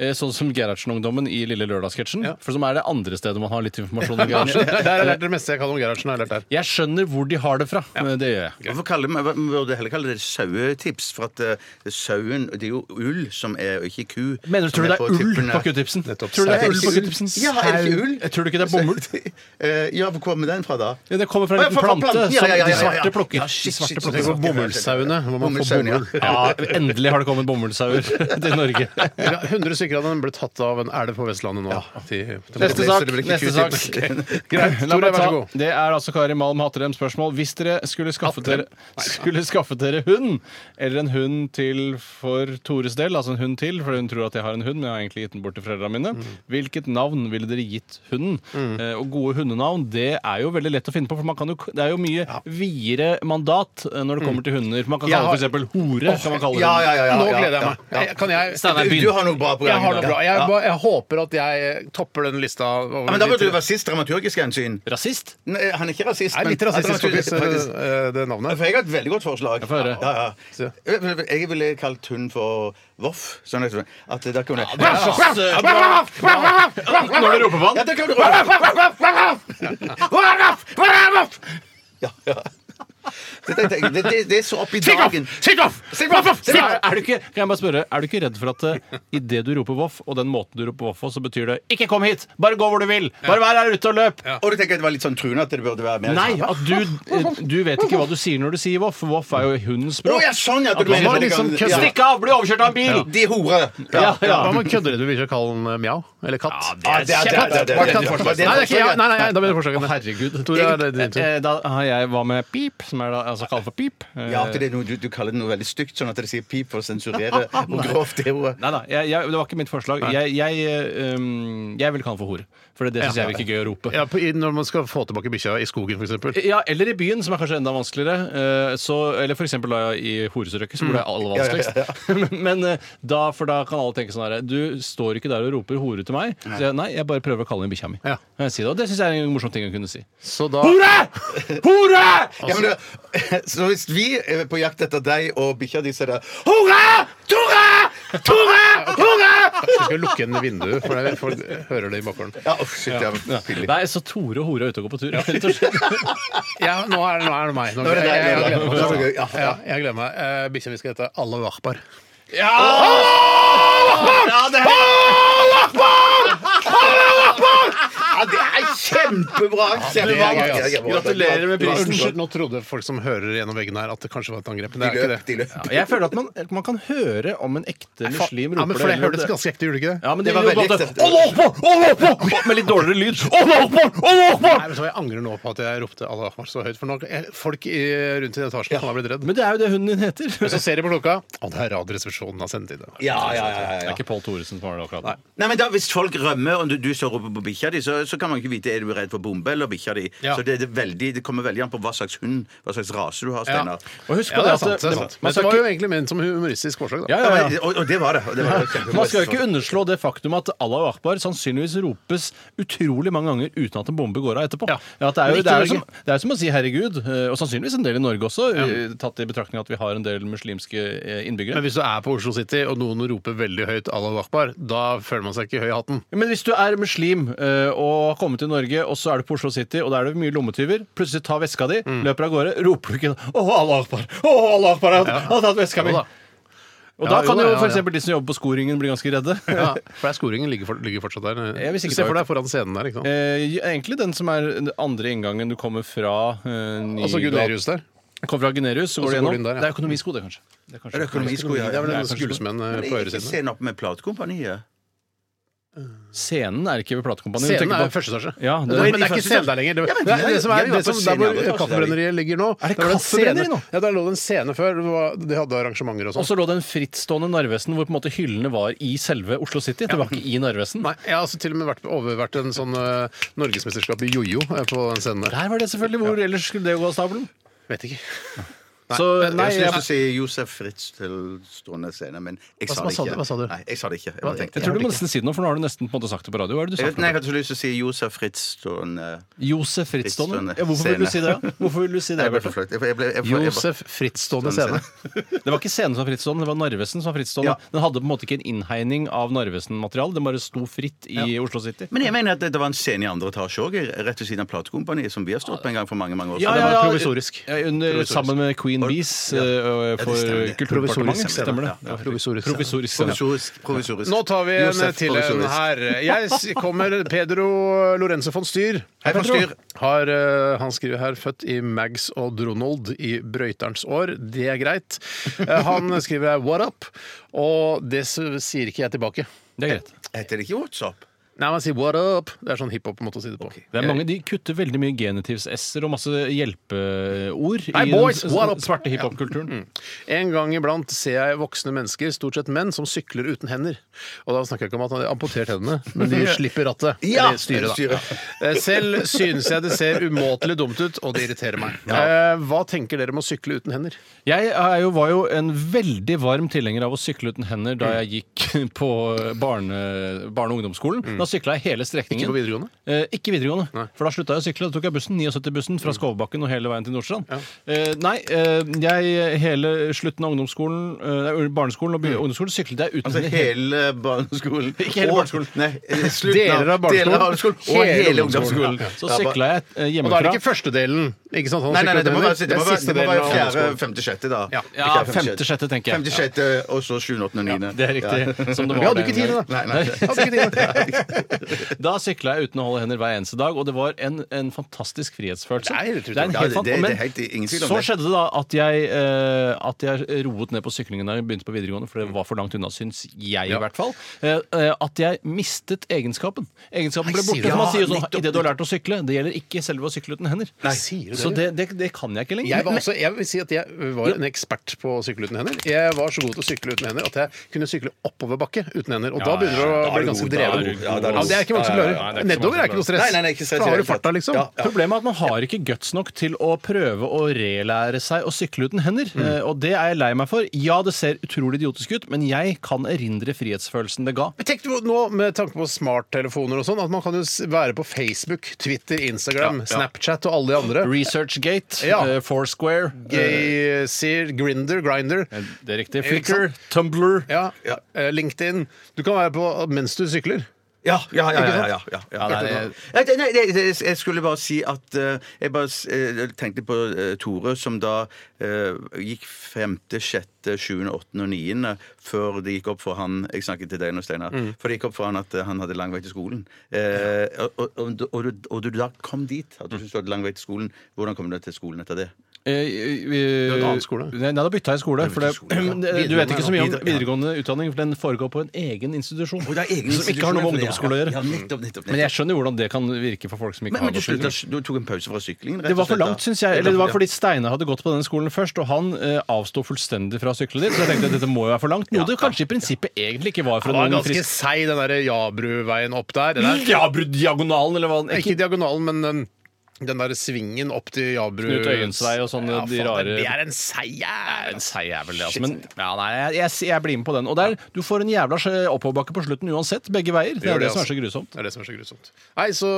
Eh, Sånn som Gerhardsen-ungdommen i Lille Lørdag-sketsjen. Ja. For som er det andre stedet man har litt informasjon om Der Gerhardsen. har jeg lært det meste jeg kan om Gerhardsen. har jeg lært der. Jeg skjønner hvor de har det fra. men Det gjør jeg. Hvorfor kaller man, man burde heller kalle det sauetips? For at eh, sauen Det er jo ull som er, og ikke ku. Mener du, som tror du det på er ull tippene. på q-tipsen? Nettopp. Tror du det er Er det ull på ikke q-tipsen? ull? Ja, er det ikke ull? Jeg tror du ikke det er bomull? Eh, Ja, hvor kommer den fra da? Ja, Det kommer fra Å, en ja, liten fra- fra plante planten. Ja, som ja, ja, de ja, ja. svarte plukker. Ja, shit, De svarte shit, plukker. shit, Tenk på bomullsauene, hvor man får Bomullssauen, ja. bomull. Ja, endelig har det kommet bomullsauer til Norge. 100 stykker av dem ble tatt av en elv på Vestlandet nå. De- de- Neste de- sak. de- de- de- de- Neste sak. Greit. La Tore, meg vær så ta, god. det er altså Kari Malm Hattrem spørsmål. Hvis dere skulle skaffet dere, skulle skaffet dere hund, eller en hund til for Tores del, altså en hund til, for hun tror at jeg har en hund, men jeg har egentlig gitt den bort til foreldrene mine, hvilket navn ville dere gitt hunden? Eh, og gode hundenavn, det er jo veldig lett å finne på, for man kan jo, det er jo mye videre mandat eh, når det kommer til hunder. Man kan Jeg kalle har- det f.eks. hore. kan man kalle Ja, ja, hunden. ja, ja, Nå ja, ja, gleder jeg meg. ja. Jeg- Kan jeg Steinar, Du, begynn. du har noe bra program. Jeg har i det dag. bra. Jeg, Ja. bare, jeg håper at jeg eh, topper den lista. Over Ja, men da de burde tre. du være sist dramaturgisk hensyn. Rasist? Nei, han er ikke rasist, Jeg er litt men- rasistisk, dramaturgisk, faktisk, faktisk. eh, det navnet. For jeg har et veldig godt forslag. få høre. Ja, ja. Se. Jeg ville kalt hund for Voff. Sånn at at der kunne Når du roper på Ja, han? der kan du Ja, ja. Det, det, det, det, det er så opp i dagen. Så Er, er du ikke, kan jeg bare spørre, er du ikke redd for at uh, idet du roper voff, og den måten du roper voff på, så betyr det 'ikke kom hit', bare gå hvor du vil, bare vær her ute og løp? Og du tenker at det var litt sånn truende at det burde være mer Nei, sånn, at du, eh, du vet ikke hva du sier når du sier voff. Voff er jo hundens Å språk. ja, sånn, ja! Du du mener var det liksom kan- kødd- ja. Stikk av, bli overkjørt av en bil! De horer. Ja, ja. Hva med kødder du vil kalle den eh, mjau? Eller katt? Ja, det er- det er- det er- det er- Var Ah, det katt det er- det forslaget? er- Nei, det er ikke, ja, nei, nei, nei, da blir det forslaget. Herregud. Tore, er det din tur? Eh, Da har jeg hva med pip, som er da, altså kalt for pip. Eh, Ja, at det er noe, du, du kaller det noe veldig stygt, sånn at det sier pip for å sensurere hvor grovt det er. ordet. Nei da, jeg, jeg, det var ikke mitt forslag. Jeg, jeg, eh, um, jeg vil kalle den for hore. For det, det syns Ja. jeg virker gøy å rope. Ja, på, i- når man skal få tilbake bikkja i skogen, f.eks. Ja, eller i byen, som er kanskje enda vanskeligere. Eh, Så, eller for eksempel da i Horesrøkket, som ble aller vanskeligst. Men eh, da, for da kan alle tenke sånn her Du står ikke der og roper 'hore' til meg. Så jeg, nei, jeg bare prøver å kalle inn bikkja mi. Ja. Kan jeg Si det, og det syns jeg er en morsom ting å kunne si. Så Ah. da Hore! Hore! Ja, men, det- så hvis vi er på jakt etter deg og bikkja di, så er det Hurra! Tora! Tore! Tore! Du skal lukke igjen vinduet, for det- folk hører det i bakgrunnen. Ja, uff, shit, jeg var pillig. Nei, så Tore og Hore er ute og går på tur. rett og slett. Ja, nå er det, nå er det meg. Nå, er det deg, jeg, det er jeg, jeg, deg. gleder Det er meg. så gøy, ja. Ja, jeg gleder meg. Eh, Bikkja mi skal hete Allah Akbar. Ja, det er kjempebra! Ja, det kjempebra. er gøy, ass. Ja, ja, Gratulerer med Nå- prisen. Unnskyld, nå trodde folk som hører gjennom veggen her, at det kanskje var et angrep. Men det De er ikke løp, det. de løp. Jeg føler at man, man kan høre om en ekte muslim Ja, men roper for det eller hørtes ganske ekte, gjorde det ikke det? Ja, men det, Det var var veldig veldig ekte. ekte. Med litt dårligere lyd. Allahu Akbar! Allahu Akbar! Nei, vet du hva, Jeg angrer nå på at jeg ropte Allah Akbar så høyt. For nå, jeg- folk i, rundt i den etasjen kan ha blitt redd. Men det er jo det hunden din heter. Men så ser de på klokka, og det er Radioresepsjonen har sendt inn. det. Ja, ja, ja, ja, ja. ikke Pål Thoresen som har det akkurat. Nei, men da, Hvis folk rømmer, og du, du står oppe på bikkja di, så, så kan man ikke vite er du redd for bombe eller bikkja di. Ja. Så det, er veldig, det kommer veldig an på hva slags hund, hva slags rase du har, Ja. Steinar. Og husk Ja, på det er at sant. det er sant. Men Man det skal var jo ikke, egentlig ment som humoristisk forslag. Da. ja, ja, ja. Og, og det var det. og det var det. Kjempebra. Man skal jo ikke underslå det faktum at Allahu akbar sannsynligvis ropes utrolig mange ganger uten at en bombe går av etterpå. Ja. at det, er Men jo, ikke det, er jo i som, Norge. det er jo som å si herregud, eh, og sannsynligvis en del i Norge også, eh, tatt i betraktning at vi har en del muslimske eh, Men innbyggere. hvis du er på Oslo City, og noen roper veldig høyt Allah Akbar, da føler man seg ikke høy i hatten. Men hvis du er muslim eh, og har kommet til Norge, og så er du på Oslo City, og der er det mye lommetyver, plutselig tar veska di, Mm. løper av gårde, roper du ikke Å, Allah akbar! Å, Allah akbar! Han har tatt veska mi! Jo da. Og Ja, da kan jo da, jo, ja, for ja. eksempel de som jobber på Skoringen, bli ganske redde. Ja, for der skoringen ligger, for, ligger fortsatt der. Jeg visste ikke Se det for var deg foran scenen der. ikke sant? Eh, egentlig den som er den andre inngangen du kommer fra. Eh, Altså Nygata- Gunerius der. Kommer fra Gunerius, så Og så går du går du gjennom. inn der, ja. Det er økonomisko, det, kanskje. Det er kanskje- Er det økonomisko, ja, Det er ja. vel Ja, en kanskje- skuldelsmenn eh, Men på er ikke øyresiden. der. scenen oppe med platekompaniet. Scenen er ikke ved platekompaniet. Scenen er Er, første etasje. Ja, det- det, Nei, men det er ikke scenen der lenger. Det, Ja, men det, de er, er- det som er, de er jo det som, på der scenen, hvor ja, det er også Kaffebrenneriet ligger nå Er det der var en scene- kaffebrenneri nå? Ja, der lå det en scene før. det var- De hadde arrangementer og og sånn. så lå det en frittstående Narvesen hvor på en måte hyllene var i selve Oslo City. Det var ikke i Narvesen. Nei, jeg har altså til og med vært, overvært en sånn eh, norgesmesterskap i jojo eh, på den scenen der. Der var det selvfølgelig. Hvor ellers skulle det gå av stabelen? Vet ikke. Eh, Så nei, Jeg skulle til jeg, å si Josef Fritz til stående scene, men jeg Hva- sa hva det sa ikke. du- hva sa du? Nei, jeg sa det ikke. Jeg bare jeg tenkte tror du må nesten si det nå, for nå har du nesten på en måte sagt det på radio. Hva er det Jeg du sa? vet- for Nei, jeg noe? hadde så lyst til å si Josef Fritz stående Josef Frittstående. Frittstående Ja, hvorfor vil scene. du si det? ja? Hvorfor vil du si det, Jeg ble for Bjarte? flaut. Jeg- jeg ble- jeg- jeg- Josef Frittstående scene. Det var ikke scenen som var frittstående, det var Narvesen som var frittstående. Ja. Den hadde på en måte ikke en innhegning av Narvesen-materiale, den bare sto fritt i Oslo City. Men jeg mener at det, det var en scene i andre etasje òg, rett ved siden av platekompaniet, som vi har stått på en gang for mange mange år Ja, siden. ja, ja. provisorisk. Ja, under, Provisorisk. Sammen med Queen Bees eh, for stemmer det. Kulturdepartementet. Stemmer det. Ja, provisorisk scene. Provisorisk scene. Provisorisk. provisorisk. Nå tar vi en Josef til en provisorisk. her. Jeg s- kommer Pedro Lorenzo von Styr. Hei, von Styr. Har, eh, han skriver her født i Mags og Dronald i brøyterens år. Det er greit. Eh, Han skriver her 'what up', og det s- sier ikke jeg tilbake. Det er greit. Heter det ikke WhatsApp? Nei, man sier 'what up'. Det er sånn hiphop-måte å si det på. Det er mange, De kutter veldig mye genitivs-s-er og masse hjelpeord Hey, i boys, den what up? Mm. s- svarte hiphopkulturen. En gang iblant ser jeg voksne mennesker, stort sett menn, som sykler uten hender. Og da snakker jeg ikke om at han har amputert hendene, men de slipper rattet. Ja, eller styret, da. styret. Eh, Selv synes jeg det ser umåtelig dumt ut, og det irriterer meg. Eh, Hva tenker dere om å sykle uten hender? Jeg er jo, var jo en veldig varm tilhenger av å sykle uten hender Mm. da jeg gikk på barne, barne- og ungdomsskolen. Da sykla jeg hele strekningen. Mm. Ikke på videregående? Eh, ikke videregående, for da slutta jeg å sykle. Da tok jeg bussen, 79-bussen Mm. fra Skovbakken og hele veien til Nordstrand. Eh, nei, eh, jeg hele slutten av ungdomsskolen, eh, nei, barneskolen og by- Mm. ungdomsskolen syklet jeg uten Altså hender. hele barneskolen. Ikke hele Og- barneskolen. Nei, eh, slutten Deler av barneskolen. Deler av barneskolen og Hele hele ungdomsskolen. ungdomsskolen. Ja. Så sykla jeg eh, Og da er det hjemmefra. ikke første delen. Ikke sant? Han Nei, nei, nei, sykler det må uten være, hender. det må er være, siste det må delen være av fjerde, ungdomsskolen. femte, sjette, da. Ja. Ikke Ja, femte, femte, sjette, tenker jeg. Femte, sjette, og så sjuende, åttende, niende. Det er riktig. som det Vi var hadde jo den ikke tid til det. gangen. da. Nei, nei. Hadde ikke tid til det. Da sykla jeg uten å holde hender hver eneste dag, og det var en, en fantastisk frihetsfølelse. Det er helt utrolig. en Ja, helt det- fan- det- det er men helt ingen tvil om så det. skjedde det da at jeg, eh, at jeg roet ned på syklingen da jeg begynte på videregående, for det var for langt unna, syns jeg i hvert fall. Eh, eh, at jeg mistet egenskapen. Egenskapen ble borte. sier du- for man sier Ja, jo sånn nettopp, Idet du har lært å sykle. Det gjelder ikke selve å sykle uten hender. sier du det? så det, det, det kan jeg ikke lenger. Jeg, var også, jeg vil si at jeg var en ekspert på å sykle uten hender. Jeg var så god til å sykle uten hender at jeg kunne sykle oppoverbakke uten hender. Og da begynner du å bli ganske Da er du dreven. god. Ja, Ja, da er du det er ikke mange som god. Ja, ja, ja, klarer. det er ikke så mange Nedover er som ikke noe Nei, stress. nei, nei, ikke stress i Da har det du hele farta, tatt. liksom. Ja, ja. Problemet er at man har ikke guts nok til å prøve å relære seg å sykle uten hender. Mm. Eh, Og det er jeg lei meg for. Ja, det ser utrolig idiotisk ut, men jeg kan erindre frihetsfølelsen det ga. Men Tenk på nå med tanke på smarttelefoner og sånn, at man kan jo s- være på Facebook, Twitter, Instagram, Snapchat og alle de andre. Researchgate, Ja. eh, Foursquare eh, Gay, Sear, Grinder, Grinder. Det er riktig. Ikke Flicker, Tumbler Ja. Ja. eh, LinkedIn. Du kan være på mens du sykler. Ja, ja, ja. Ikke ja, ja, sant? ja, ja. Ja, det er- Nei, det- nei, det- det- jeg skulle bare si at eh, Jeg bare s- eh, tenkte på eh, Tore, som da eh, gikk femte, sjette, sjuende, åttende og niende før det gikk opp for han Jeg snakket til deg nå, Steinar. Mm. Før det gikk opp for han at eh, han hadde lang vei til skolen. Eh, og, og, og, du- og, du- og du da kom dit, at du Mm. syntes du hadde lang vei til skolen. Hvordan kom du til skolen etter det? Eh, eh, en annen skole. Nei, nei, da bytta jeg skole. For det, du vet ikke så mye om Videregående, ja. videregående utdanning, for den foregår på en egen institusjon. Og det er egen som ikke har noe med institusjon, ungdomsskole å ja. gjøre. Ja, nettopp, nettopp, nettopp. Men jeg skjønner jo hvordan det kan virke for folk som ikke men, men har du, gått på sluttet, du tok en pause fra syklingen? rett Det og var for slett, da? langt, syns jeg. Eller det var fordi Steinar hadde gått på denne skolen først, og han eh, avsto fullstendig fra å sykle dit. Så jeg tenkte at dette må jo være for langt. Noe det kanskje i prinsippet egentlig ikke var for Det var noen ganske frisk seig, den der Jabruveien opp der. Den der. Ja, brudd diagonalen, eller hva den Ikke diagonalen, men den, den der svingen opp til Jabru. Knut Øyens vei og sånne de faen, rare- Det er en seig jævel. En seig jævel, det, altså. Men ja, nei, jeg, jeg, jeg blir med på den. Og der, du får en jævla sj- oppoverbakke på slutten uansett, begge veier. Det gjør er det, det som er altså. så grusomt. Det er det som er så grusomt. Nei, så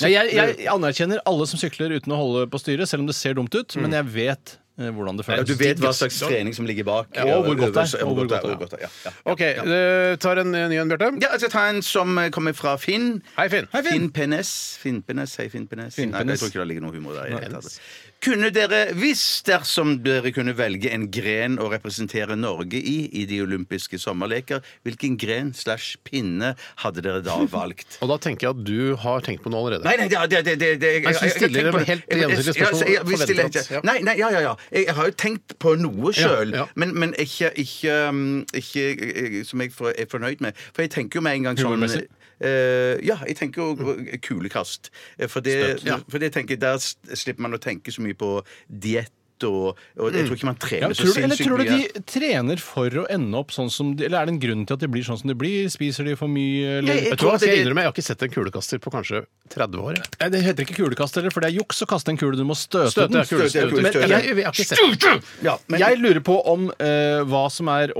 Nei, jeg, jeg anerkjenner alle som sykler uten å holde på styret, selv om det ser dumt ut, men jeg vet eh, hvordan det Mm. Ja, føles. du vet hva slags trening som ligger bak. Ja, og hvor godt det er. Ja, Og hvor det er, godt hvor godt det er, ja. OK, eh, tar en ny en, Bjarte. Ja, jeg skal ta en som eh, kommer fra Finn. Hei, Finn. Hei, Finn. Finn Penes. Finn Penes. Hei, Finn Penes. Finn Nei, Penes. jeg tror ikke det ligger noe humor der. i det hele tatt. Kunne dere, hvis dersom dere kunne velge en gren å representere Norge i i de olympiske sommerleker, hvilken gren slash pinne hadde dere da valgt? Og da tenker jeg at du har tenkt på noe allerede. Nei, nei, det, det, det, det, det Men så jeg- jeg- stiller jeg tenker dere på- helt jeg- jeg- gjensidige jeg- jeg- spørsmål, jeg- jeg- jeg- forventer at- ja. Nei, nei, ja, ja, ja. Jeg, jeg har jo tenkt på noe sjøl, ja. men, men ikke, ikke, um, ikke eh, som jeg for- er fornøyd med. For jeg tenker jo med en gang sånn Humormessig? eh, ja, jeg tenker jo kulekast. Eh, For det, Ja. for det tenker jeg, der s- slipper man å tenke så mye på diett. Og, og jeg tror ikke man Ja, trener men så tror du, eller sinnssykt tror du mye. de trener for å ende opp sånn som de, Eller er det en grunn til at de blir sånn som de blir? Spiser de for mye? Eller? Nei, jeg Vet du hva, tror at skal jeg det- innrømme, jeg har ikke sett en kulekaster på kanskje 30 år. jeg. Nei, det heter ikke kulekast heller, for det er juks å kaste en kule. Du må støte, Støte, den. ja, kule, støte, Men kule, jeg, Jeg, jeg har ikke sett den. Ja, men, jeg lurer på om eh, hva som er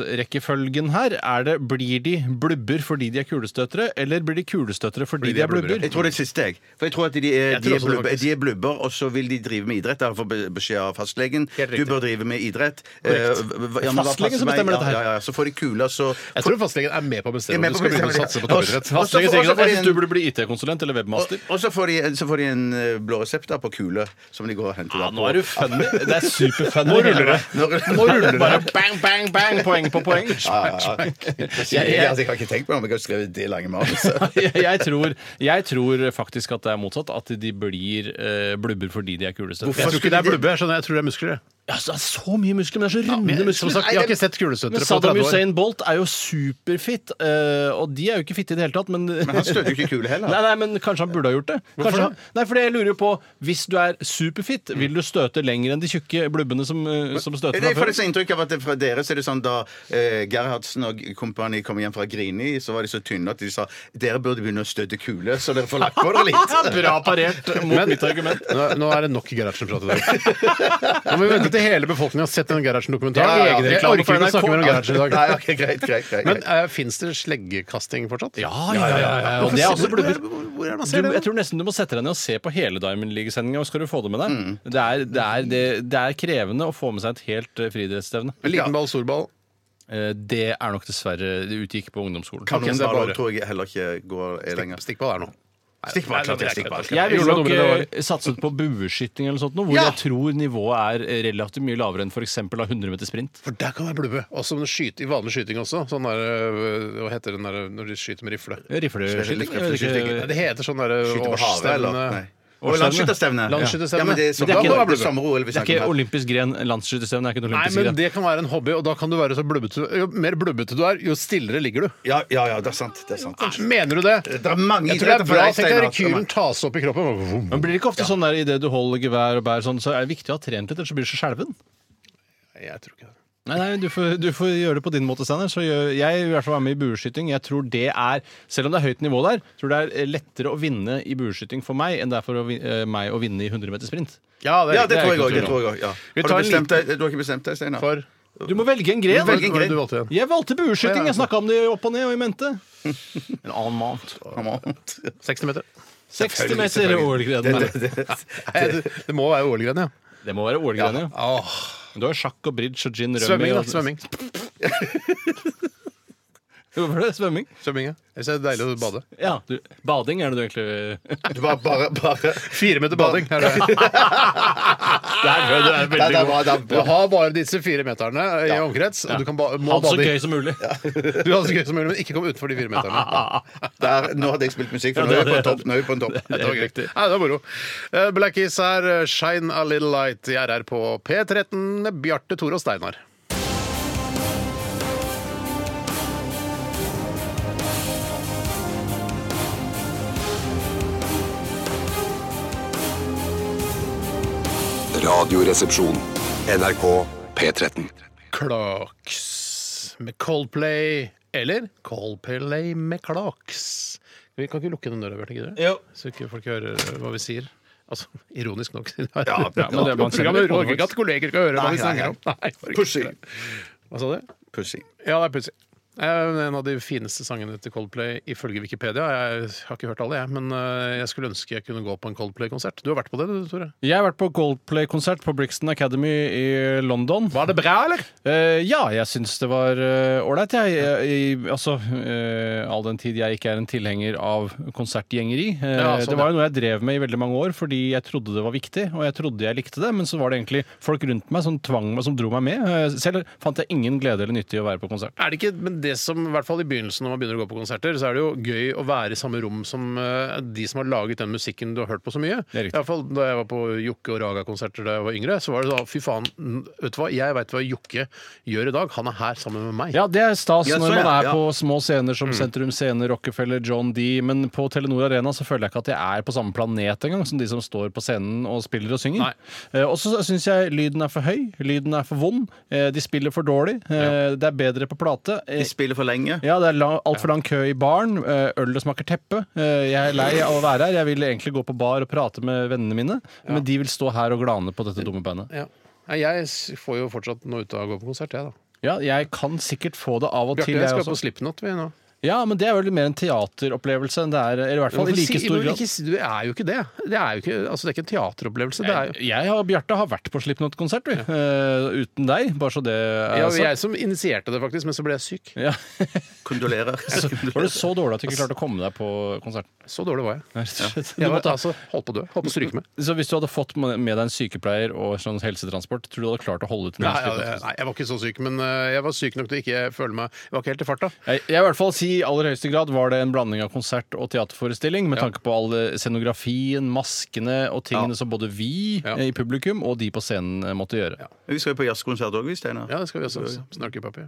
årsaksrekkefølgen her. Er det Blir de blubber fordi de er kulestøtere, eller blir de kulestøtere fordi, de er blubber? Jeg tror det er siste, jeg. For jeg tror at de er, Jeg tror de er, også det, blubber, faktisk. de er blubber, og så vil de drive med idrett. Der får be- beskjed av fastlegen. Du bør drive med idrett. Eh, hva- ja, men hva passer Fastlegen som meg? bestemmer dette her. Ja, ja, ja. Så får de kula, så Jeg tror fastlegen er med på å bestemme Jeg er med om på du å skal begynne å bestemme, satse på ja. toppidrett. Og så- Fastlegen tenker og så at får de en- jeg synes du burde bli IT-konsulent eller og, webmaster. og så får de, så får de en eh, blå resept da, på kule, som de går og henter. da Ja, på- nå er du funny. Det er superfunny. Nå ruller det. Nå ruller det. Nå ruller det. Bare bang, bang, bang. Poeng på poeng. Ja, ja, ja. Jeg, jeg, jeg har ikke tenkt på det, men jeg har skrevet det lange manuset. jeg, jeg, tror, jeg tror faktisk at det er motsatt. At de blir eh, blubber fordi de er kulestøttere. Jeg tror Jeg ikke det er blubbe, jeg skjønner, jeg tror det er muskler. jeg. tror- Altså, det er så mye muskler, men det er så Men runde jeg- Som muskler. sagt, jeg har ikke sett kulestøtere men på Saddam 30 år. Hussein Bolt er jo superfit, eh, og de er jo ikke fitte i det hele tatt, men Men han støter jo ikke kule heller. Nei, nei, men kanskje han burde ha gjort det. Kanskje han, nei, fordi jeg lurer jo på Hvis du er superfit, vil du støte lenger enn de tjukke blubbene som, eh, som støter Nei, deg for før? det er så inntrykk av at det, fra dere så er det sånn da eh, Gerhardsen og kompani kom hjem fra Grini, så var de så tynne at de sa dere burde begynne å støtte kule, så dere får lagt på dere litt. Bra parert mot mitt argument. Nå, nå er det nok Gerhardsen-prat i dag. Nå må vi vente til hele befolkningen har sett den Gerhardsen-dokumentaren. Ja, ja, ja. Jeg orker ikke å snakke mer om Gerhardsen i dag. Nei, ok, greit, greit, greit, Men greit. uh, fins det sleggekasting fortsatt? Ja, ja, ja. ja, ja. Og det er også blubber. Hvor er det man ser Du, det? jeg tror nesten du må sette deg ned og se på hele Diamond League-sendinga. Skal du få det med deg? Mm. Det, er, det, er, det, det er krevende å få med seg et helt eh, friidrettsstevne. Liten ball, stor ball. Eh, Det er nok dessverre Det utgikk på ungdomsskolen. Kanonballer tror jeg heller ikke går lenger. Stikkball er nå. Stikkball, klart det er stikkball. Jeg ville Gjorde nok nummeret det eh, satset på bueskyting eller noe sånt, nå, hvor jeg tror nivået er eh, relativt mye lavere enn f.eks. av 100 meter sprint. For der kan det være blubbe. Også om du skyter, i vanlig skyting også. Sånn der, øh, hva heter den der når de skyter med rifle? Rifleskyting? jeg vet Nei, ikke. Det heter sånn derre Skyte på havet, eller? Nei. Og Årsstevne. landskytterstevne. Landskytterstevne. Ja, men det er Men det er ikke- sommer- det er sommer-OL vi Det er snakker ikke om. her. olympisk gren. Landsskytterstevne er ikke en Nei, olympisk men gren. det kan være en hobby, og da kan du være så blubbete. Jo mer blubbete du er, jo stillere ligger du. Ja, ja, ja, det er sant. Det er sant. Mener du det? Det er mange Jeg tror det idretter er for bra. deg, Tenk deg Steinar. rekylen tas opp i kroppen. Vroom. Men blir det ikke ofte sånn der idet du holder gevær og bærer sånn, så er det viktig å ha trent litt, ellers så blir du så skjelven? Jeg tror ikke det. Nei, nei du, får, du får gjøre det på din måte, Steinar. Så gjør, jeg vil i hvert fall være med i bueskyting. Jeg tror det er, Selv om det er høyt nivå der, tror det er eh, lettere å vinne i bueskyting for meg enn det er for å, vin- eh, meg å vinne i 100 meter sprint. Ja, det, Ja, det tror jeg ikke òg. det noe tvil om. tror jeg også, Ja. Vi Har tar du en bestemt deg? Du har ikke bestemt deg, Steinar? For Du må velge en Velge en gren. Hva var det gren. du valgte igjen? Jeg valgte bueskyting. Ja, ja. Jeg snakka om det opp og ned og i mente. En annen mount. Come on. 60 meter. 60 meter ålgren. Det- det- det- Nei, det, det må være OL-gren, ja. Det må være ålgren, ja. Åh, Du har sjakk og bridge og gin rømme. svømming, da. og- Svømming. Hvorfor det? Svømming? svømming ja. Jeg synes det er deilig å bade. Ja. Du, bading er det du egentlig Du bare, bare, bare Fire meter bading. Er det. Der, du Nei, er det er bra, det er Du bra. har bare disse fire meterne i omkrets, og du kan ba må Ha det så bade i. gøy som mulig. Du har det så gøy som mulig, men ikke kom utenfor de fire meterne. Der, nå hadde jeg spilt musikk, for Ja, nå er jeg det- på en topp. Nå er jeg på en topp. Det var greit. Nei, det var moro. Eh, Black Keys her, eh, 'Shine a Little Light'. Jeg er her på P13 med Bjarte, Tore og Steinar. Radioresepsjon. NRK P13. Clarks med Coldplay. Eller Coldplay med Clarks. Vi kan ikke lukke den døra, Bjarte, gidder du? Jo. Så ikke folk hører eh, hva vi sier. Altså, Ironisk nok. siden det er- Ja, ja, men det er man kjenner Programmet litt på det, orker ikke at kolleger skal høre hva Nei, vi snakker nei, om. Nei, orker ikke Pussy. det. Hva sa du? Pussy. Ja, det er pussig. Eh, En av de fineste sangene til Coldplay ifølge Wikipedia. Jeg har ikke hørt alle, jeg, men eh, jeg skulle ønske jeg kunne gå på en Coldplay-konsert. Du har vært på det, du, Tore? Jeg har vært på Coldplay-konsert på Brixton Academy i London. Var det bra, eller? Eh, ja, jeg syns det var eh, ålreit, jeg. jeg. jeg- Altså, eh, all den tid jeg ikke er en tilhenger av konsertgjengeri. Eh, Ja, sånn, det var jo noe jeg drev med i veldig mange år fordi jeg trodde det var viktig, og jeg trodde jeg likte det, men så var det egentlig folk rundt meg som tvang meg, som dro meg med. Eh, selv fant jeg ingen glede eller nytte i å være på konsert. Er det ikke, men det som, i hvert fall i begynnelsen når man begynner å gå på konserter, så er det jo gøy å være i samme rom som eh, de som har laget den musikken du har hørt på så mye. Det er riktig. I hvert fall da jeg var på Jokke og Raga-konserter da jeg var yngre, så var det da fy faen, n- vet du hva, jeg veit hva Jokke gjør i dag, han er her sammen med meg. Ja, det er stas Ja, så når man ja, er ja. på små scener Mm. som Sentrum Scene, Rockefeller, John D. Men på Telenor Arena så føler jeg ikke at jeg er på samme planet engang som de som står på scenen og spiller og synger. Nei. Eh, og så syns jeg lyden er for høy, lyden er for vond, eh, de spiller for dårlig, eh, det er bedre på plate. Eh, De spiller for lenge. ja, Det er altfor lang kø i baren. eh, Ølet smaker teppe. eh, Jeg er lei av å være her. Jeg vil egentlig gå på bar og prate med vennene mine, men de vil stå her og glane på dette dumme bandet. Ja. Nei, Jeg s- får jo fortsatt noe ut av å gå på konsert, jeg, da. Ja, jeg kan sikkert få det av og Bjarte, til, jeg jeg skal også. på Slipknot, vi nå. Ja, men det er vel mer en teateropplevelse enn det er eller i hvert fall i Hvorfor si- like stor hvorfor grad. ikke si- Du er jo ikke det. Det er jo ikke, altså, det er ikke en teateropplevelse. Det er jo Jeg og Bjarte har vært på Slipknot-konsert, du. Eh, uten deg, bare så det er ja, sagt. jeg som initierte det, faktisk, men så ble jeg syk. Ja. Kondolerer. Var det så dårlig at du ikke klarte å komme deg på konserten? Så dårlig var jeg. Rett og slett. Du Jeg var, måtte- altså, holdt på å dø. Holdt på å stryke meg. Så hvis du hadde fått med med deg en sykepleier og sånn helsetransport, tror du du hadde klart å holde ut? med Nei, en ja, Slipknot-konsert? det- nei, jeg var ikke så syk, men øh, jeg var syk nok til å ikke føle meg Jeg var ikke helt i farta. Jeg, jeg vil i hvert fall si i aller høyeste grad var det en blanding av konsert og teaterforestilling, med tanke på all eh, scenografien, maskene og tingene som både vi Ja. eh, i publikum og de på scenen eh, måtte gjøre. Vi skal jo på jazzkonsert òg, vi, Steinar. Ja, det skal vi også. Snarky Puppy.